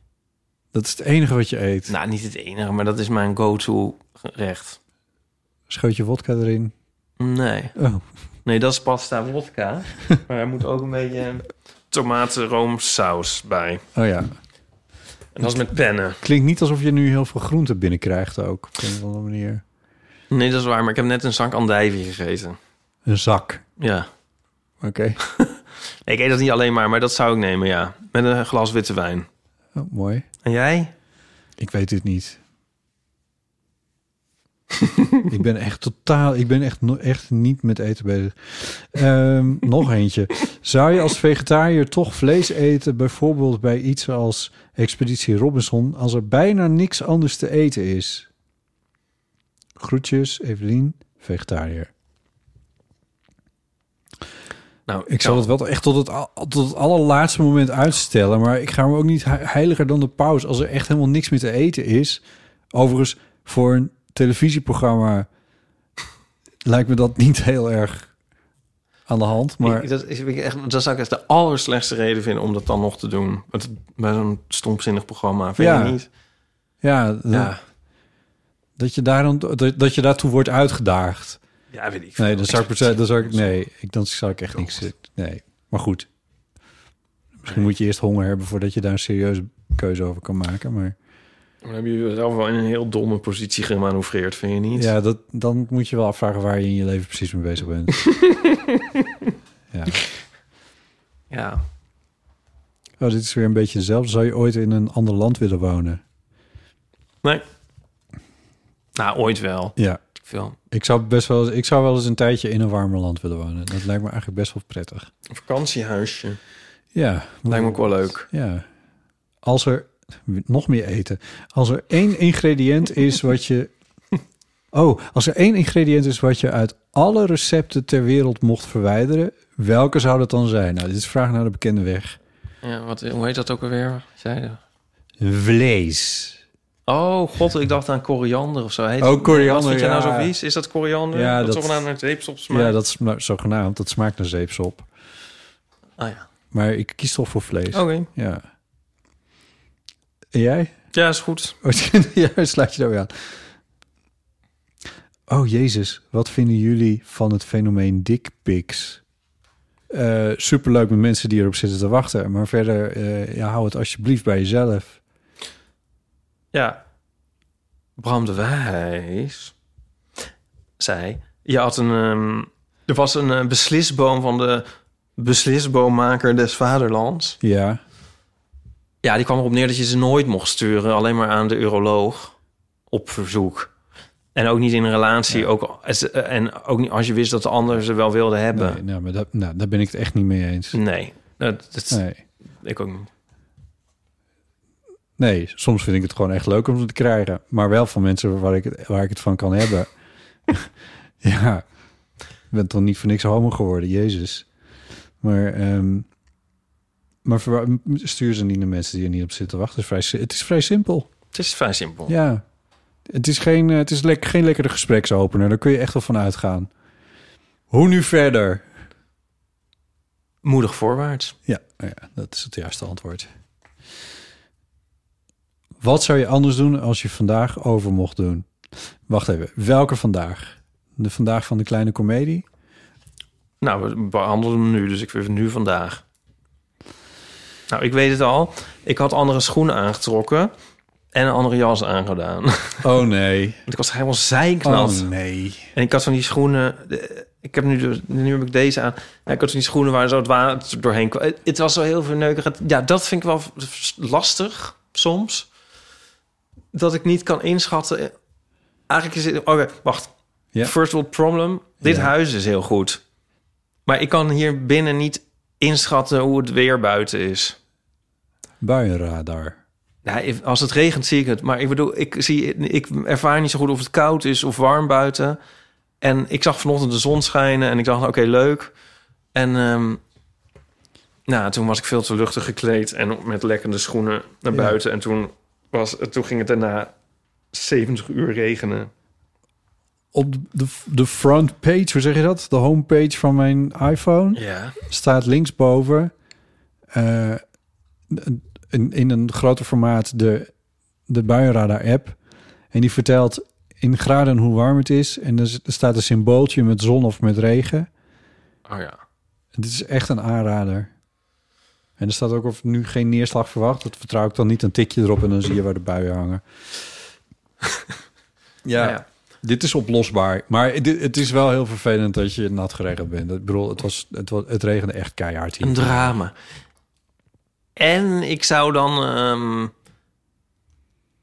[SPEAKER 4] Dat is het enige wat je eet.
[SPEAKER 3] Nou, niet het enige, maar dat is mijn go-to gerecht.
[SPEAKER 4] Schootje vodka erin.
[SPEAKER 3] Nee,
[SPEAKER 4] Oh,
[SPEAKER 3] nee, dat is pasta wodka. maar er moet ook een beetje eh, tomatenroomsaus bij.
[SPEAKER 4] oh ja.
[SPEAKER 3] En dat is met pennen.
[SPEAKER 4] Klinkt niet alsof je nu heel veel groenten binnenkrijgt ook. Op een of andere manier.
[SPEAKER 3] Nee, dat is waar, maar ik heb net een zak andijvie gegeten.
[SPEAKER 4] Een zak.
[SPEAKER 3] Ja.
[SPEAKER 4] Oké.
[SPEAKER 3] Ik eet dat niet alleen maar, maar dat zou ik nemen, ja. Met een glas witte wijn.
[SPEAKER 4] Oh, mooi.
[SPEAKER 3] En jij?
[SPEAKER 4] Ik weet dit niet. ik ben echt totaal, ik ben echt, no- echt niet met eten bezig. Ehm, nog eentje. Zou je als vegetariër toch vlees eten, bijvoorbeeld bij iets als Expeditie Robinson, als er bijna niks anders te eten is? Groetjes, Evelien, vegetariër.
[SPEAKER 3] Nou,
[SPEAKER 4] Ik zal het wel echt tot het, al- tot het allerlaatste moment uitstellen. Maar ik ga me ook niet he- heiliger dan de paus. Als er echt helemaal niks meer te eten is. Overigens, voor een televisieprogramma lijkt me dat niet heel erg aan de hand. Maar
[SPEAKER 3] Ik- dat, is, ik echt, dat zou ik echt de allerslechtste reden vinden om dat dan nog te doen. Met, bij zo'n stomzinnig programma, vind
[SPEAKER 4] Ja.
[SPEAKER 3] je niet?
[SPEAKER 4] ja, dat-
[SPEAKER 3] Ja.
[SPEAKER 4] Dat, je daar dan, dat, dat je daartoe wordt uitgedaagd.
[SPEAKER 3] Ja, weet ik veel.
[SPEAKER 4] Nee, dat zou ik, per se- dat zou ik, nee, ik, dan zou ik echt
[SPEAKER 3] Oh,
[SPEAKER 4] niks... Nee, maar goed. Misschien moet je eerst honger hebben voordat je daar een serieuze keuze over kan maken. Maar
[SPEAKER 3] Dan heb je jezelf wel in een heel domme positie gemanoeuvreerd, vind je niet?
[SPEAKER 4] Ja, dat, dan moet je wel afvragen waar je in je leven precies mee bezig bent. ja.
[SPEAKER 3] Ja.
[SPEAKER 4] Oh, dit is weer een beetje hetzelfde. Zou je ooit in een ander land willen wonen?
[SPEAKER 3] Nee. Nou, ooit wel.
[SPEAKER 4] Ja.
[SPEAKER 3] Ik Veel.
[SPEAKER 4] Ik zou best wel, ik zou wel eens een tijdje in een warmer land willen wonen. Dat lijkt me eigenlijk best wel prettig.
[SPEAKER 3] Een vakantiehuisje.
[SPEAKER 4] Ja.
[SPEAKER 3] Lijkt me ook wel leuk.
[SPEAKER 4] Ja. Als er nog meer eten. Als er één ingrediënt is wat je. Oh, als er één ingrediënt is wat je uit alle recepten ter wereld mocht verwijderen, welke zou dat dan zijn? Nou, dit is vraag naar de bekende weg.
[SPEAKER 3] Ja, wat, hoe heet dat ook alweer? Zei je?
[SPEAKER 4] Vlees.
[SPEAKER 3] Oh, god, ik dacht aan koriander of zo. Heet
[SPEAKER 4] Oh, koriander,
[SPEAKER 3] Wat vind je nou
[SPEAKER 4] ja.
[SPEAKER 3] zo vies? Is dat koriander?
[SPEAKER 4] Ja,
[SPEAKER 3] dat...
[SPEAKER 4] dat-
[SPEAKER 3] toch naar een zeepsop smaakt?
[SPEAKER 4] Ja, dat is zogenaamd. Dat smaakt naar zeepsop.
[SPEAKER 3] Ah, ja.
[SPEAKER 4] Maar ik kies toch voor vlees.
[SPEAKER 3] Oké.
[SPEAKER 4] Ja. En jij?
[SPEAKER 3] Ja, is goed.
[SPEAKER 4] Oh, ja, slaat je daar weer aan. Oh, Jezus. Wat vinden jullie van het fenomeen dickpics? Eh superleuk met mensen die erop zitten te wachten. Maar verder, eh, ja, hou het alsjeblieft bij jezelf.
[SPEAKER 3] Ja. Bram de Wijs zei... Je had een... ehm, er was een eh, beslisboom van de beslisboommaker des vaderlands.
[SPEAKER 4] Ja.
[SPEAKER 3] Ja, die kwam erop neer dat je ze nooit mocht sturen. Alleen maar aan de uroloog. Op verzoek. En ook niet in een relatie. Ook, al- als- eh, en ook niet als je wist dat de ander ze wel wilde hebben. Mm.
[SPEAKER 4] Nee,
[SPEAKER 3] Nee.
[SPEAKER 4] nou, maar dat, nou, daar ben ik het echt niet mee eens.
[SPEAKER 3] Dat, dat-
[SPEAKER 4] Nee.
[SPEAKER 3] Ik ook niet.
[SPEAKER 4] Nee, soms vind ik het gewoon echt leuk om ze te krijgen. Maar wel van mensen waar ik het, waar ik het van kan hebben. ja, ik ben toch niet voor niks homo geworden, jezus. Maar, ehm, maar verwa- stuur ze niet naar mensen die er niet op zitten wachten. Het is vrij, si- het is vrij simpel.
[SPEAKER 3] Het is vrij simpel.
[SPEAKER 4] Ja, het is, geen, eh, het is lek- geen lekkere gespreksopener. Daar kun je echt wel van uitgaan. Hoe nu verder?
[SPEAKER 3] Moedig voorwaarts.
[SPEAKER 4] Ja, nou ja, dat is het juiste antwoord. Wat zou je anders doen als je vandaag over mocht doen? Wacht even. Welke vandaag? De vandaag van de kleine komedie?
[SPEAKER 3] Nou, we behandelen hem nu, dus ik vind nu vandaag. Nou, ik weet het al. Ik had andere schoenen aangetrokken en een andere jas aangedaan. Want
[SPEAKER 4] Oh nee.
[SPEAKER 3] ik was helemaal zeiknat.
[SPEAKER 4] Oh, nee.
[SPEAKER 3] En ik had van die schoenen... eh, Ik heb nu, dus- nu heb ik deze aan. Ja, ik had van die schoenen waar zo het water doorheen kwam. Het- Het was zo heel verneukerig. Ja, dat vind ik wel lastig soms. Dat ik niet kan inschatten. Eigenlijk is het... Oké, wacht.
[SPEAKER 4] Ja.
[SPEAKER 3] First world problem. Dit
[SPEAKER 4] Ja.
[SPEAKER 3] huis is heel goed. Maar ik kan hier binnen niet inschatten hoe het weer buiten is.
[SPEAKER 4] Buienradar.
[SPEAKER 3] Ja, if- als het regent zie ik het. Maar ik bedoel, ik, zie, ik ervaar niet zo goed of het koud is of warm buiten. En ik zag vanochtend de zon schijnen en ik dacht, oké, leuk. En ehm, nou, toen was ik veel te luchtig gekleed en met lekkende schoenen naar
[SPEAKER 4] Ja.
[SPEAKER 3] buiten. En toen, was, toen ging het daarna 70 uur regenen.
[SPEAKER 4] Op de, de front page, hoe zeg je dat? De homepage van mijn iPhone.
[SPEAKER 3] Ja.
[SPEAKER 4] staat linksboven eh, in, in een groter formaat de, de buienradar-app. En die vertelt in graden hoe warm het is. En er z- er staat een symbooltje met zon of met regen.
[SPEAKER 3] Oh ja.
[SPEAKER 4] Het is echt een aanrader. En er staat ook of nu geen neerslag verwacht. Dat vertrouw ik dan niet. Een tikje erop en dan zie je waar de buien hangen.
[SPEAKER 3] Ja.
[SPEAKER 4] ja. Dit is oplosbaar. Maar dit, het is wel heel vervelend dat je nat geregend bent. Ik bedoel, het, was, het, was, het regende echt keihard hier.
[SPEAKER 3] Een drama. En ik zou dan ehm,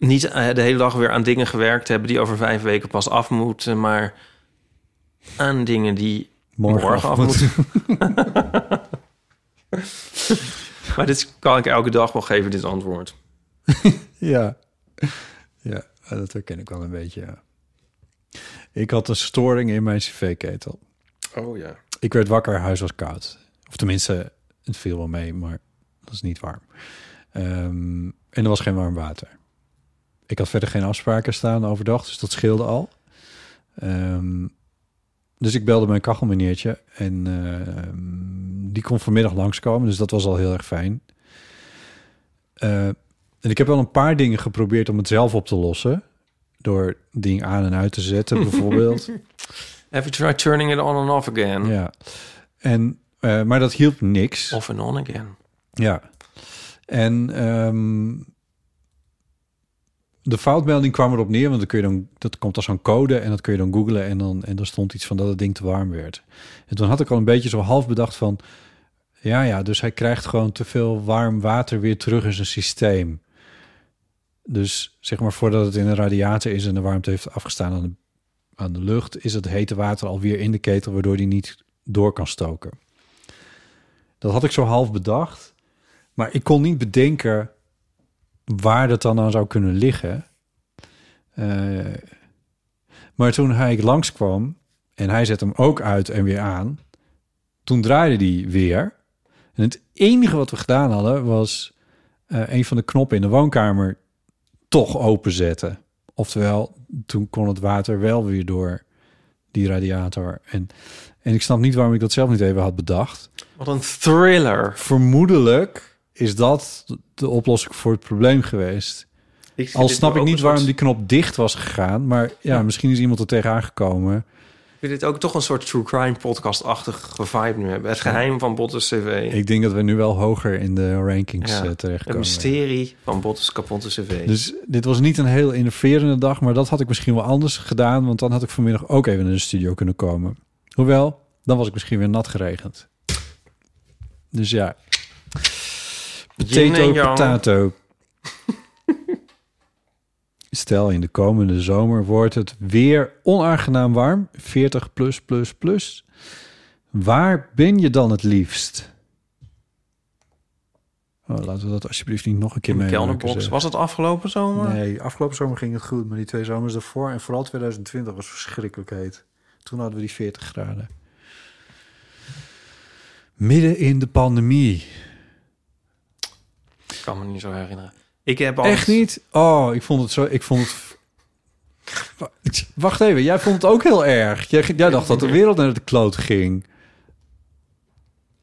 [SPEAKER 3] niet eh, de hele dag weer aan dingen gewerkt hebben die over vijf weken pas af moeten, maar aan dingen die morgen, af moeten. maar dit kan ik elke dag wel geven, dit antwoord.
[SPEAKER 4] Ja. Ja, dat herken ik wel een beetje. ja. Ik had een storing in mijn cv-ketel.
[SPEAKER 3] Oh ja.
[SPEAKER 4] Ik werd wakker, huis was koud. Of tenminste, het viel wel mee, maar dat is niet warm. Ehm, en er was geen warm water. Ik had verder geen afspraken staan overdag, dus dat scheelde al. Ehm, dus ik belde mijn kachelmeneertje en ehm, die kon vanmiddag langskomen, dus dat was al heel erg fijn. Eh, en ik heb wel een paar dingen geprobeerd om het zelf op te lossen. Door ding aan en uit te zetten bijvoorbeeld.
[SPEAKER 3] Have you tried turning it on and off again?
[SPEAKER 4] Ja. En, eh, maar dat hielp niks.
[SPEAKER 3] Off and on again.
[SPEAKER 4] Ja. En ehm, de foutmelding kwam erop neer, want dan kun je dan, dat komt als zo'n code en dat kun je dan googlen en dan, en dan stond iets van dat het ding te warm werd. En toen had ik al een beetje zo half bedacht van, ja ja, dus hij krijgt gewoon te veel warm water weer terug in zijn systeem. Dus zeg maar voordat het in een radiator is en de warmte heeft afgestaan aan de, aan de lucht, is het hete water alweer in de ketel, waardoor die niet door kan stoken. Dat had ik zo half bedacht. Maar ik kon niet bedenken waar dat dan aan zou kunnen liggen. Eh, maar toen hij langskwam en hij zette hem ook uit en weer aan, toen draaide die weer. En het enige wat we gedaan hadden was eh, een van de knoppen in de woonkamer toch openzetten. Oftewel, toen kon het water wel weer door die radiator. En, en ik snap niet waarom ik dat zelf niet even had bedacht
[SPEAKER 3] Wat een thriller.
[SPEAKER 4] vermoedelijk is dat de oplossing voor het probleem geweest. Al snap ik niet waarom die knop dicht was gegaan, maar ja, misschien is iemand er tegenaan gekomen.
[SPEAKER 3] Ik vind dit ook toch een soort true crime podcast-achtige vibe nu hebben. Het geheim van Bottes CV.
[SPEAKER 4] Ik denk dat we nu wel hoger in de rankings eh,
[SPEAKER 3] Het
[SPEAKER 4] terechtkomen.
[SPEAKER 3] mysterie van Bottes kapotte cv.
[SPEAKER 4] Dus dit was niet een heel innoverende dag, maar dat had ik misschien wel anders gedaan, want dan had ik vanmiddag ook even in de studio kunnen komen. Hoewel, dan was ik misschien weer nat geregend. Dus ja,
[SPEAKER 3] Yin en
[SPEAKER 4] Potato,
[SPEAKER 3] yang.
[SPEAKER 4] potato. Stel, in de komende zomer wordt het weer onaangenaam warm. 40 plus plus plus. Waar ben je dan het liefst? Oh, laten we dat alsjeblieft niet nog een keer
[SPEAKER 3] In de
[SPEAKER 4] meemaken,
[SPEAKER 3] kelderbox.
[SPEAKER 4] zeg.
[SPEAKER 3] Was het afgelopen zomer?
[SPEAKER 4] eh, Nee, afgelopen zomer ging het goed, maar die twee zomers daarvoor... en vooral 2020 was verschrikkelijk heet. Toen hadden we die 40 graden. Midden in de pandemie...
[SPEAKER 3] Ik kan me niet zo herinneren. Ik heb al
[SPEAKER 4] Echt niet? Oh, ik vond het zo. Ik vond het. Wacht even, jij vond het ook heel erg. Jij, jij dacht dat de wereld naar de kloot ging.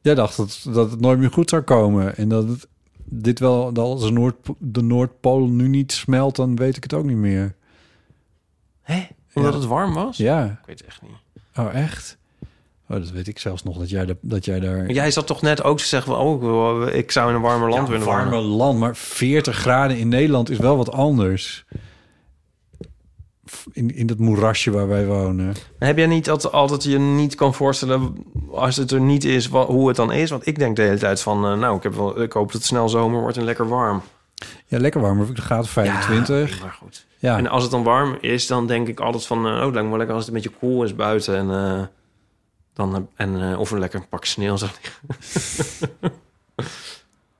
[SPEAKER 4] Jij dacht dat, dat het nooit meer goed zou komen. En dat het, dit wel, dat als de, Noord, de Noordpool nu niet smelt, dan weet ik het ook niet meer.
[SPEAKER 3] Hè? Omdat
[SPEAKER 4] Ja.
[SPEAKER 3] het warm was?
[SPEAKER 4] Ja.
[SPEAKER 3] Ik weet het echt niet.
[SPEAKER 4] Oh, echt? Oh, dat weet ik zelfs nog, dat jij, da- dat jij daar...
[SPEAKER 3] Maar jij zat toch net ook te zeggen... van, Oh, ik zou in een warmer land willen
[SPEAKER 4] warme
[SPEAKER 3] wonen.
[SPEAKER 4] land, maar 40 graden in Nederland is wel wat anders. In, in dat moerasje waar wij wonen.
[SPEAKER 3] Heb jij niet altijd, altijd je niet kan voorstellen... als het er niet is, wa- hoe het dan is? Want ik denk de hele tijd van... eh, nou, ik, heb wel, ik hoop dat het snel zomer wordt en lekker warm.
[SPEAKER 4] Ja, lekker warm. maar Ik gaat 25.
[SPEAKER 3] Maar goed.
[SPEAKER 4] Ja,
[SPEAKER 3] En als het dan warm is, dan denk ik altijd van... eh, oh, het lijkt me wel lekker als het een beetje koel is buiten. En, eh, dan, eh, en, eh, of een lekker pak sneeuw zou liggen.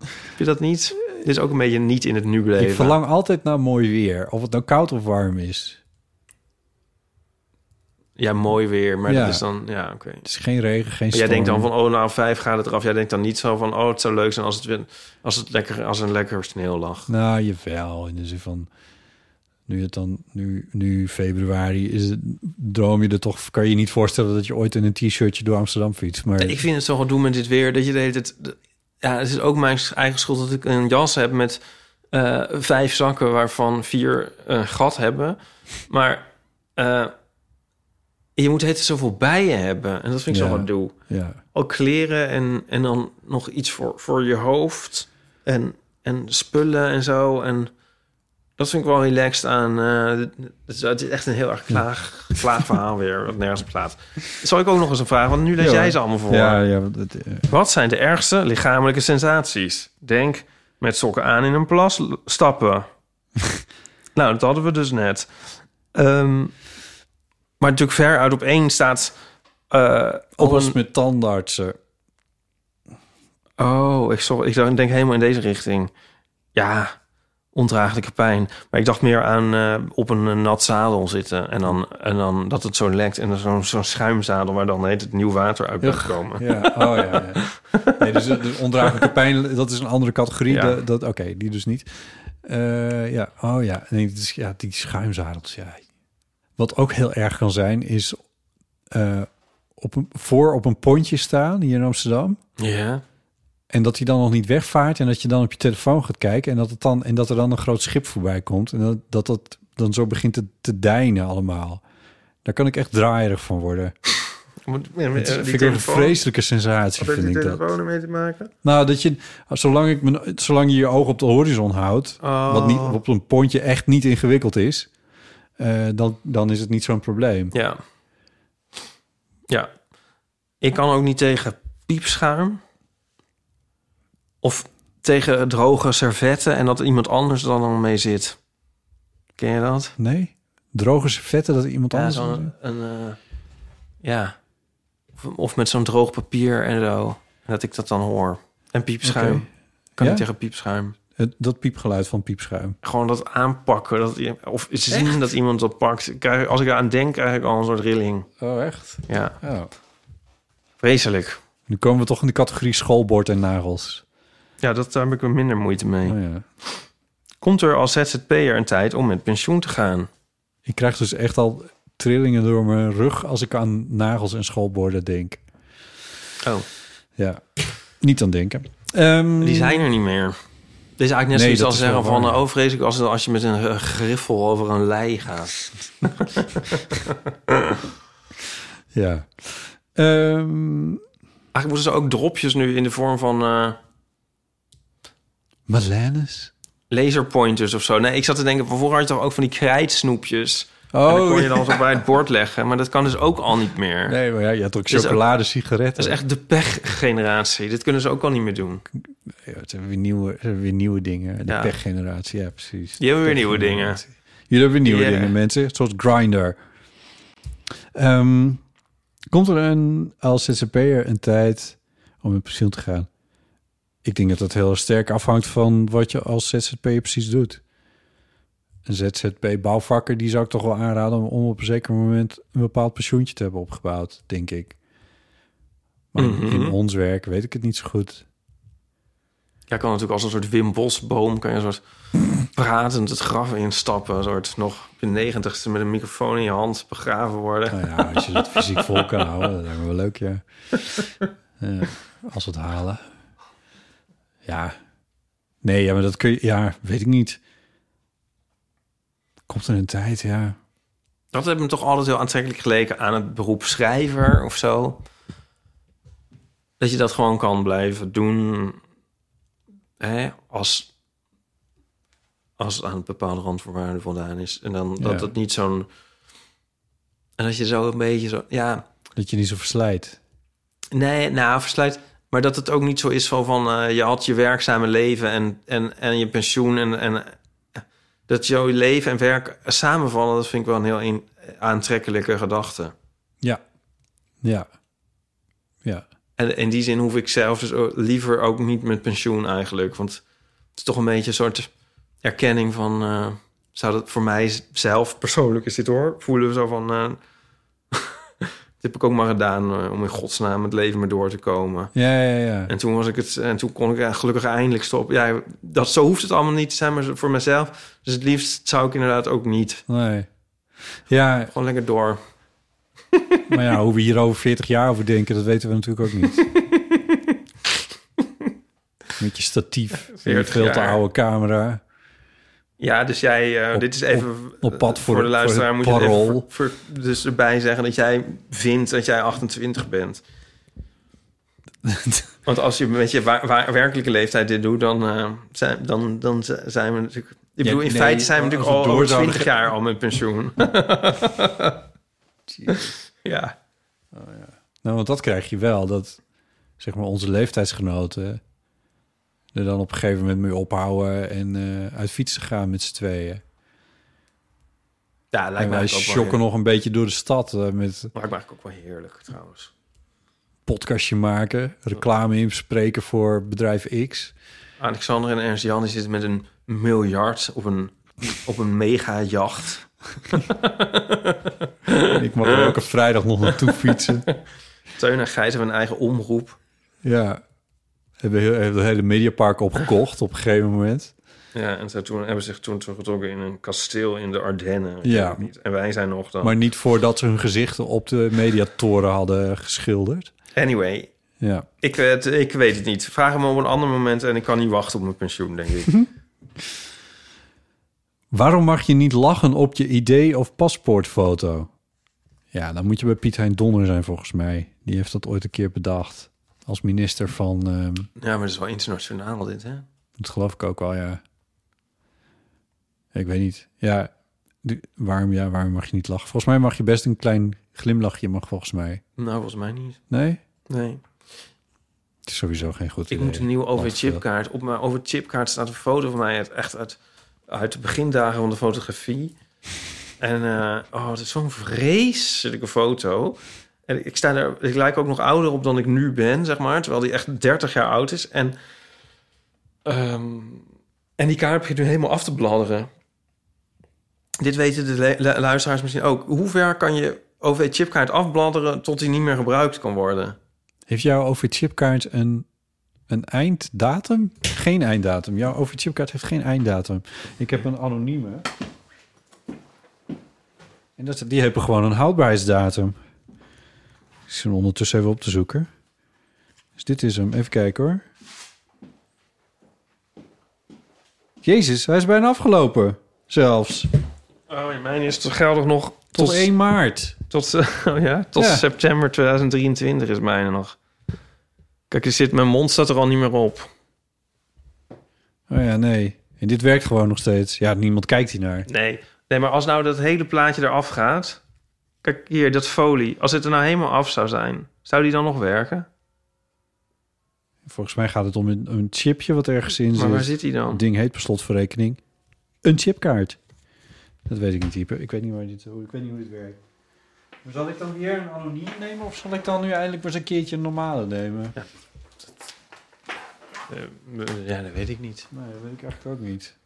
[SPEAKER 3] Heb je dat niet? Dit is ook een beetje niet in het nu
[SPEAKER 4] ik
[SPEAKER 3] blijven.
[SPEAKER 4] verlang altijd naar mooi weer. Of het nou koud of warm is.
[SPEAKER 3] Ja, mooi weer, maar
[SPEAKER 4] Ja.
[SPEAKER 3] dat is dan... Ja, oké.
[SPEAKER 4] Het is geen regen, geen
[SPEAKER 3] Maar Jij
[SPEAKER 4] storm.
[SPEAKER 3] denkt dan van, oh, nou, vijf gaat het eraf. Jij denkt dan niet zo van, oh, het zou leuk zijn als het, weer- als het lekker, als er lekker sneeuw lag.
[SPEAKER 4] Nou, jawel. In de zin van... Nu het dan... Nu, nu februari is het... Droom je er toch... Kan je niet voorstellen dat je ooit in een t-shirtje door Amsterdam fietst. Maar...
[SPEAKER 3] Ik vind het zo gedoe met dit weer, dat je de hele tijd... Ja, het is ook mijn eigen schuld dat ik een jas heb met eh, vijf zakken... waarvan vier een gat hebben. Maar eh, je moet het zoveel bijen hebben. En dat vind ik
[SPEAKER 4] Ja.
[SPEAKER 3] zo gedoe.
[SPEAKER 4] Ja.
[SPEAKER 3] Ook kleren en, en dan nog iets voor, voor je hoofd. En, en spullen en zo. En dat vind ik wel relaxed aan. eh, het, is, het is echt een heel erg klaag, klaagverhaal weer. Wat nergens op slaat. Zal ik ook nog eens een vraag? Want nu lees
[SPEAKER 4] Ja.
[SPEAKER 3] jij ze allemaal voor.
[SPEAKER 4] Ja, ja, want het, eh,
[SPEAKER 3] Wat zijn de ergste lichamelijke sensaties? Denk met sokken aan in een plas l- stappen. nou, dat hadden we dus net. Ehm, maar natuurlijk ver uit op één staat... eh, op
[SPEAKER 4] alles
[SPEAKER 3] een,
[SPEAKER 4] met eh. tandartsen.
[SPEAKER 3] Oh, ik, sorry, ik dacht- ik denk helemaal in deze richting. Ja, ondraaglijke pijn. Maar ik dacht meer aan eh, op een eh, nat zadel zitten. En dan, en dan dat het zo lekt. En dan zo'n zo'n schuimzadel waar dan heet het nieuw water uit blijft komen.
[SPEAKER 4] Ja, oh ja. ja. Nee, dus, dus ondraaglijke pijn, dat is een andere categorie.
[SPEAKER 3] Ja.
[SPEAKER 4] De- dat, Oké, die dus niet. Eh, ja, oh ja. Nee, dit is, ja, die schuimzadels, ja. Wat ook heel erg kan zijn, is eh, op een, voor op een pontje staan hier in Amsterdam.
[SPEAKER 3] Ja.
[SPEAKER 4] En dat hij dan nog niet wegvaart en dat je dan op je telefoon gaat kijken en dat, het dan, en dat er dan een groot schip voorbij komt. En dat dat, dat dan zo begint te, te deinen allemaal. Daar kan ik echt draaierig van worden.
[SPEAKER 3] Moet, ja,
[SPEAKER 4] Dat
[SPEAKER 3] met, eh, die
[SPEAKER 4] vind ik een
[SPEAKER 3] telefoon.
[SPEAKER 4] vreselijke sensatie,
[SPEAKER 3] Wat heeft
[SPEAKER 4] vind
[SPEAKER 3] die
[SPEAKER 4] ik dat.
[SPEAKER 3] telefoon ermee te maken?
[SPEAKER 4] Nou, dat je, zolang, ik mijn, zolang je je oog op de horizon houdt,
[SPEAKER 3] Oh.
[SPEAKER 4] wat niet, op een pontje echt niet ingewikkeld is, eh, dan, dan is het niet zo'n probleem.
[SPEAKER 3] Ja. Ja. Ik kan ook niet tegen piepschuim. Of tegen droge servetten en dat iemand anders dan dan mee zit. Ken je dat?
[SPEAKER 4] Nee? Droge servetten dat iemand
[SPEAKER 3] Ja,
[SPEAKER 4] anders...
[SPEAKER 3] zo'n een, eh, ja. Of, of met zo'n droog papier en zo. En Dat ik dat dan hoor. En piepschuim.
[SPEAKER 4] Oké.
[SPEAKER 3] Kan
[SPEAKER 4] Ja?
[SPEAKER 3] ik tegen piepschuim.
[SPEAKER 4] Het- dat piepgeluid van piepschuim.
[SPEAKER 3] Gewoon dat aanpakken. Dat, i- of zien dat iemand dat pakt. Ik krijg- als ik eraan denk, krijg ik al een soort rilling.
[SPEAKER 4] Oh, echt?
[SPEAKER 3] Ja,
[SPEAKER 4] Oh.
[SPEAKER 3] vreselijk.
[SPEAKER 4] Nu komen we toch in de categorie schoolbord en nagels.
[SPEAKER 3] Ja, dat, daar heb ik wel minder moeite mee.
[SPEAKER 4] Oh, ja.
[SPEAKER 3] Komt er als ZZP'er een tijd om met pensioen te gaan?
[SPEAKER 4] Ik krijg dus echt al trillingen door mijn rug als ik aan nagels en schoolborden denk.
[SPEAKER 3] Oh,
[SPEAKER 4] Ja, niet aan denken. Ehm,
[SPEAKER 3] die zijn er niet meer. Dit is eigenlijk net
[SPEAKER 4] Nee,
[SPEAKER 3] zoiets
[SPEAKER 4] dat
[SPEAKER 3] als
[SPEAKER 4] is
[SPEAKER 3] zeggen
[SPEAKER 4] wel
[SPEAKER 3] van...
[SPEAKER 4] waar.
[SPEAKER 3] eh, oh, vreselijk als, als je met een eh, griffel over een lei gaat.
[SPEAKER 4] Ja. Ehm,
[SPEAKER 3] Eigenlijk moeten ze ook dropjes nu in de vorm van... eh,
[SPEAKER 4] Madeleines?
[SPEAKER 3] laserpointers of zo. Nee, ik zat te denken, van vroeger had je toch ook van die krijtsnoepjes.
[SPEAKER 4] Oh,
[SPEAKER 3] en dan kon je dan zo bij het bord leggen. Maar dat kan dus ook al niet meer.
[SPEAKER 4] Nee, maar ja, je had ook
[SPEAKER 3] is ook-
[SPEAKER 4] chocolade, sigaretten.
[SPEAKER 3] Dat is echt de pechgeneratie. Dit kunnen ze ook al niet meer doen.
[SPEAKER 4] Ja, het zijn weer nieuwe, het zijn weer nieuwe dingen. De
[SPEAKER 3] Ja.
[SPEAKER 4] pechgeneratie, ja, precies.
[SPEAKER 3] Die hebben weer nieuwe dingen.
[SPEAKER 4] Pechgeneratie. Jullie hebben weer
[SPEAKER 3] Ja.
[SPEAKER 4] nieuwe dingen, mensen. Zoals Grindr. Ehm, komt er een, als zzp'er een tijd om in pensioen te gaan? Ik denk dat dat heel sterk afhangt van wat je als zzp'er precies doet. Een ZZP-bouwvakker, die zou ik toch wel aanraden... om- om op een zeker moment een bepaald pensioentje te hebben opgebouwd, denk ik. Maar in- in
[SPEAKER 3] Mhm.
[SPEAKER 4] ons werk weet ik het niet zo goed.
[SPEAKER 3] Ja, kan natuurlijk als een soort Wim Bosboom... kan je een soort pratend het graf instappen. Een soort nog op je negentigste met een microfoon in je hand begraven worden.
[SPEAKER 4] Nou ja, als je dat fysiek vol kan houden, dat lijkt me wel leuk, ja. Ja, als we het halen. Ja. Nee, ja, maar dat kun je... Ja, weet ik niet. Komt er een tijd, ja.
[SPEAKER 3] Dat heeft me toch altijd heel aantrekkelijk geleken aan het beroep schrijver of zo. Dat je dat gewoon kan blijven doen hè, als, als het aan een bepaalde randvoorwaarde voldaan is. En dan
[SPEAKER 4] Ja.
[SPEAKER 3] dat het niet zo'n... En dat je zo een beetje zo... Ja,
[SPEAKER 4] Dat je niet zo verslijt.
[SPEAKER 3] Nee, nou, versluit. Maar dat het ook niet zo is van, van eh, je had je werkzame leven en, en, en je pensioen. En, en eh, dat jouw leven en werk samenvallen, dat vind ik wel een heel in- aantrekkelijke gedachte.
[SPEAKER 4] Ja. Ja. Ja.
[SPEAKER 3] En in die zin hoef ik zelf dus ook liever ook niet met pensioen eigenlijk. Want het is toch een beetje een soort erkenning van... eh, zou dat voor mij zelf persoonlijk is dit hoor. Voelen we zo van... eh, dit heb ik ook maar gedaan eh, om in godsnaam het leven maar door te komen.
[SPEAKER 4] Ja, ja, ja.
[SPEAKER 3] En toen was ik het en toen kon ik eh, gelukkig eindelijk stoppen. Ja, dat zo hoeft het allemaal niet te zijn, maar voor mezelf. Dus het liefst zou ik inderdaad ook niet.
[SPEAKER 4] Nee. Ja,
[SPEAKER 3] Gewoon lekker door.
[SPEAKER 4] maar ja, hoe we hier over 40 jaar over denken, dat weten we natuurlijk ook niet. Met je statief, en je
[SPEAKER 3] 40
[SPEAKER 4] veel te
[SPEAKER 3] jaar.
[SPEAKER 4] oude camera.
[SPEAKER 3] Ja, dus jij, eh,
[SPEAKER 4] Op-
[SPEAKER 3] dit is even
[SPEAKER 4] op pad voor
[SPEAKER 3] de
[SPEAKER 4] het- voor
[SPEAKER 3] luisteraar.
[SPEAKER 4] het
[SPEAKER 3] moet je het
[SPEAKER 4] parool.
[SPEAKER 3] even ver- ver- dus erbij zeggen dat jij vindt dat jij 28 bent. Want als je met je wa- wa- werkelijke leeftijd dit doet, dan, eh, zijn, dan, dan z- zijn we natuurlijk. Ik
[SPEAKER 4] Ja,
[SPEAKER 3] bedoel, in
[SPEAKER 4] nee,
[SPEAKER 3] feite zijn we
[SPEAKER 4] als
[SPEAKER 3] natuurlijk
[SPEAKER 4] we
[SPEAKER 3] al
[SPEAKER 4] door
[SPEAKER 3] over
[SPEAKER 4] zouden
[SPEAKER 3] 20 jaar al met pensioen. ja.
[SPEAKER 4] Nou, want dat krijg je wel. Dat zeg maar onze leeftijdsgenoten er dan op een gegeven moment mee ophouden en eh, uit fietsen gaan met z'n tweeën.
[SPEAKER 3] Ja, lijkt
[SPEAKER 4] en
[SPEAKER 3] me
[SPEAKER 4] wij
[SPEAKER 3] eigenlijk ook wel
[SPEAKER 4] shocken nog een beetje door de stad eh, met
[SPEAKER 3] Lijkt me eigenlijk ook wel heerlijk trouwens.
[SPEAKER 4] podcastje maken, reclame inspreken voor bedrijf X.
[SPEAKER 3] Alexander en Ernst Jan die zitten met een miljard op een, op een mega-jacht.
[SPEAKER 4] En ik mag er elke vrijdag nog naartoe fietsen.
[SPEAKER 3] Teun en Gijs hebben een eigen omroep.
[SPEAKER 4] Ja, hebben heel, hebben het hele mediapark opgekocht op een gegeven moment.
[SPEAKER 3] Ja, en ze toen, hebben zich toen teruggetrokken in een kasteel in de Ardennen. Ik
[SPEAKER 4] Ja.
[SPEAKER 3] weet het Niet. En wij zijn nog dan.
[SPEAKER 4] Maar niet voordat ze hun gezichten op de mediatoren hadden geschilderd.
[SPEAKER 3] Anyway,
[SPEAKER 4] Ja,
[SPEAKER 3] ik, weet- ik weet het niet. Vraag hem op een ander moment en ik kan niet wachten op mijn pensioen, denk ik.
[SPEAKER 4] Mhm. Waarom mag je niet lachen op je ID of paspoortfoto? Ja, dan moet je bij Piet Hein Donner zijn volgens mij. Die heeft dat ooit een keer bedacht. Als minister van, ehm,
[SPEAKER 3] ja, maar het is wel internationaal dit, hè?
[SPEAKER 4] dat geloof ik ook wel, ja. Ik weet niet. Ja, die- waarom, ja, waarom mag je niet lachen? Volgens mij mag je best een klein glimlachje, mag volgens mij.
[SPEAKER 3] Nou, volgens mij niet.
[SPEAKER 4] Nee?
[SPEAKER 3] Nee.
[SPEAKER 4] Het is sowieso geen goed
[SPEAKER 3] Ik
[SPEAKER 4] idee.
[SPEAKER 3] moet een nieuwe
[SPEAKER 4] Lachen.
[SPEAKER 3] OV-chipkaart. Op mijn OV-chipkaart staat een foto van mij uit, echt uit, uit de begindagen van de fotografie. En eh, oh, dat is zo'n vreselijke foto. En ik, sta daar, ik lijk ook nog ouder op dan ik nu ben, zeg maar. Terwijl die echt 30 jaar oud is. En, ehm, en die kaart begint nu helemaal af te bladderen. Dit weten de le- lu- luisteraars misschien ook. Hoe ver kan je OV-chipkaart afbladderen tot die niet meer gebruikt kan worden?
[SPEAKER 4] Heeft jouw overchipkaart een, een einddatum? Geen einddatum. Jouw overchipkaart heeft geen einddatum. Ik heb een anonieme. En dat, die hebben gewoon een houdbaarheidsdatum. Ik zit hem ondertussen even op te zoeken. Dus dit is hem. Even kijken hoor. Jezus, hij is bijna afgelopen. Zelfs.
[SPEAKER 3] Oh, in mijn is het geldig nog
[SPEAKER 4] Tot, 1 maart.
[SPEAKER 3] Tot, eh, oh ja? Tot
[SPEAKER 4] Ja.
[SPEAKER 3] september 2023 is mijne nog. Kijk, er zit, mijn mond staat er al niet meer op.
[SPEAKER 4] Oh ja, nee. En dit werkt gewoon nog steeds. Ja, niemand kijkt hiernaar.
[SPEAKER 3] Nee. nee, maar als nou dat hele plaatje eraf gaat... Kijk, hier, dat folie. Als het er nou helemaal af zou zijn, zou die dan nog werken?
[SPEAKER 4] Volgens mij gaat het om een, een chipje wat ergens in
[SPEAKER 3] Maar
[SPEAKER 4] zit.
[SPEAKER 3] waar zit die
[SPEAKER 4] Het
[SPEAKER 3] dan?
[SPEAKER 4] ding heet per slotverrekening een chipkaart. Dat weet ik niet dieper. Ik weet niet, waar dit, hoe, ik weet niet hoe dit werkt. Maar zal ik dan weer een anoniem nemen of zal ik dan nu eindelijk weer eens een keertje een normale nemen?
[SPEAKER 3] Eh, ja, dat weet ik niet.
[SPEAKER 4] Nee, dat weet ik eigenlijk ook niet.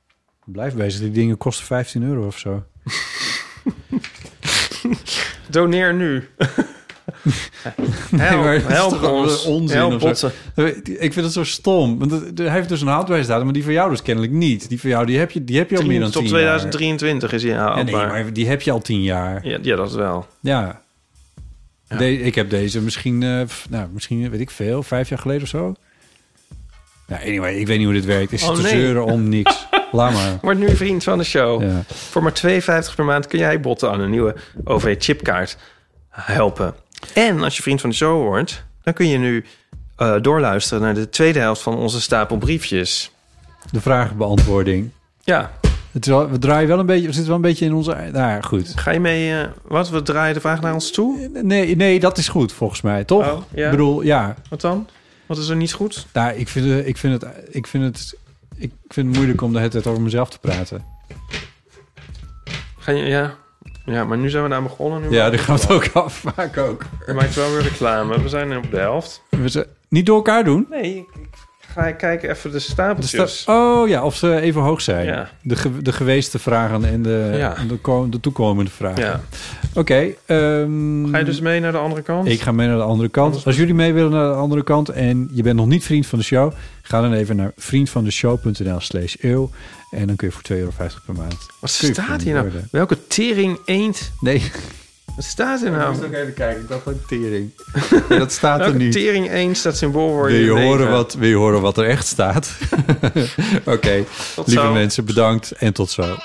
[SPEAKER 4] Blijf bezig, die dingen kosten 15 euro of zo.
[SPEAKER 3] Doneer nu.
[SPEAKER 4] maar het
[SPEAKER 3] help
[SPEAKER 4] is
[SPEAKER 3] help
[SPEAKER 4] toch
[SPEAKER 3] ons.
[SPEAKER 4] onzin
[SPEAKER 3] help
[SPEAKER 4] of zo?
[SPEAKER 3] ons.
[SPEAKER 4] Eh, Ik vind het zo stom. Want het- hij heeft dus een houdbaarheidsdatum, maar die van jou dus kennelijk niet. Die van jou, die heb je, die heb je al meer dan 10
[SPEAKER 3] Tot
[SPEAKER 4] jaar.
[SPEAKER 3] 2023 is hij
[SPEAKER 4] Ja, nee,
[SPEAKER 3] haalbaar.
[SPEAKER 4] maar die heb je al 10 jaar.
[SPEAKER 3] ja, ja, dat wel.
[SPEAKER 4] Ja. De- ik heb deze misschien, eh, f- nou, misschien weet ik veel, vijf jaar geleden of zo. Nou, anyway, ik weet niet hoe dit werkt. Is
[SPEAKER 3] Oh,
[SPEAKER 4] het te
[SPEAKER 3] nee.
[SPEAKER 4] zeuren om niks? Laat maar.
[SPEAKER 3] Word nu vriend van de show.
[SPEAKER 4] Ja.
[SPEAKER 3] Voor maar 2,50 per maand kun jij botten aan een nieuwe OV-chipkaart helpen. En als je vriend van de show wordt, dan kun je nu eh, doorluisteren naar de tweede helft van onze stapel briefjes.
[SPEAKER 4] De vraagbeantwoording.
[SPEAKER 3] Ja,
[SPEAKER 4] Het is wel, we draaien wel een beetje, we zitten wel een beetje in onze... Nou ja, goed.
[SPEAKER 3] ga je mee? eh, wat? We draaien de vraag naar ons toe?
[SPEAKER 4] Nee, nee, dat is goed volgens mij, toch?
[SPEAKER 3] Oh, ja.
[SPEAKER 4] Ik bedoel, ja.
[SPEAKER 3] Wat dan? Wat is er niet goed?
[SPEAKER 4] Nou, ik vind, het- ik, vind het, ik, vind het, ik vind het moeilijk om de hele tijd over mezelf te praten.
[SPEAKER 3] Ga je, ja. ja, maar nu zijn we daar begonnen. Nu
[SPEAKER 4] Ja, daar gaan we het ook af, vaak ook.
[SPEAKER 3] Je maakt wel weer reclame. We zijn op de helft.
[SPEAKER 4] We ze niet door elkaar doen.
[SPEAKER 3] Nee, ik, ik ga kijken even de
[SPEAKER 4] De
[SPEAKER 3] stapeltjes.
[SPEAKER 4] sta- oh ja, of ze even hoog zijn.
[SPEAKER 3] Ja.
[SPEAKER 4] De, ge- de geweeste vragen en de,
[SPEAKER 3] Ja.
[SPEAKER 4] de, ko- de toekomende vragen.
[SPEAKER 3] ja.
[SPEAKER 4] Oké. ehm,
[SPEAKER 3] Ga je dus mee naar de andere kant?
[SPEAKER 4] Ik ga mee naar de andere kant. Als jullie mee willen naar de andere kant en je bent nog niet vriend van de show, ga dan even naar vriendvandeshow.nl slash eeuw. En dan kun je voor 2,50 euro per maand.
[SPEAKER 3] Wat
[SPEAKER 4] kun je
[SPEAKER 3] staat
[SPEAKER 4] vriend
[SPEAKER 3] hier nou?
[SPEAKER 4] worden.
[SPEAKER 3] Welke tering eend?
[SPEAKER 4] Nee,
[SPEAKER 3] Wat staat hier
[SPEAKER 4] ik
[SPEAKER 3] nou?
[SPEAKER 4] moest ook even kijken. Ik dacht van tering. Nee, dat staat er
[SPEAKER 3] Welke
[SPEAKER 4] niet.
[SPEAKER 3] tering eend staat symbool voor
[SPEAKER 4] Wil je,
[SPEAKER 3] leven?
[SPEAKER 4] horen wat, wil je horen wat er echt staat? Oké, lieve
[SPEAKER 3] zo.
[SPEAKER 4] mensen, bedankt en tot zo.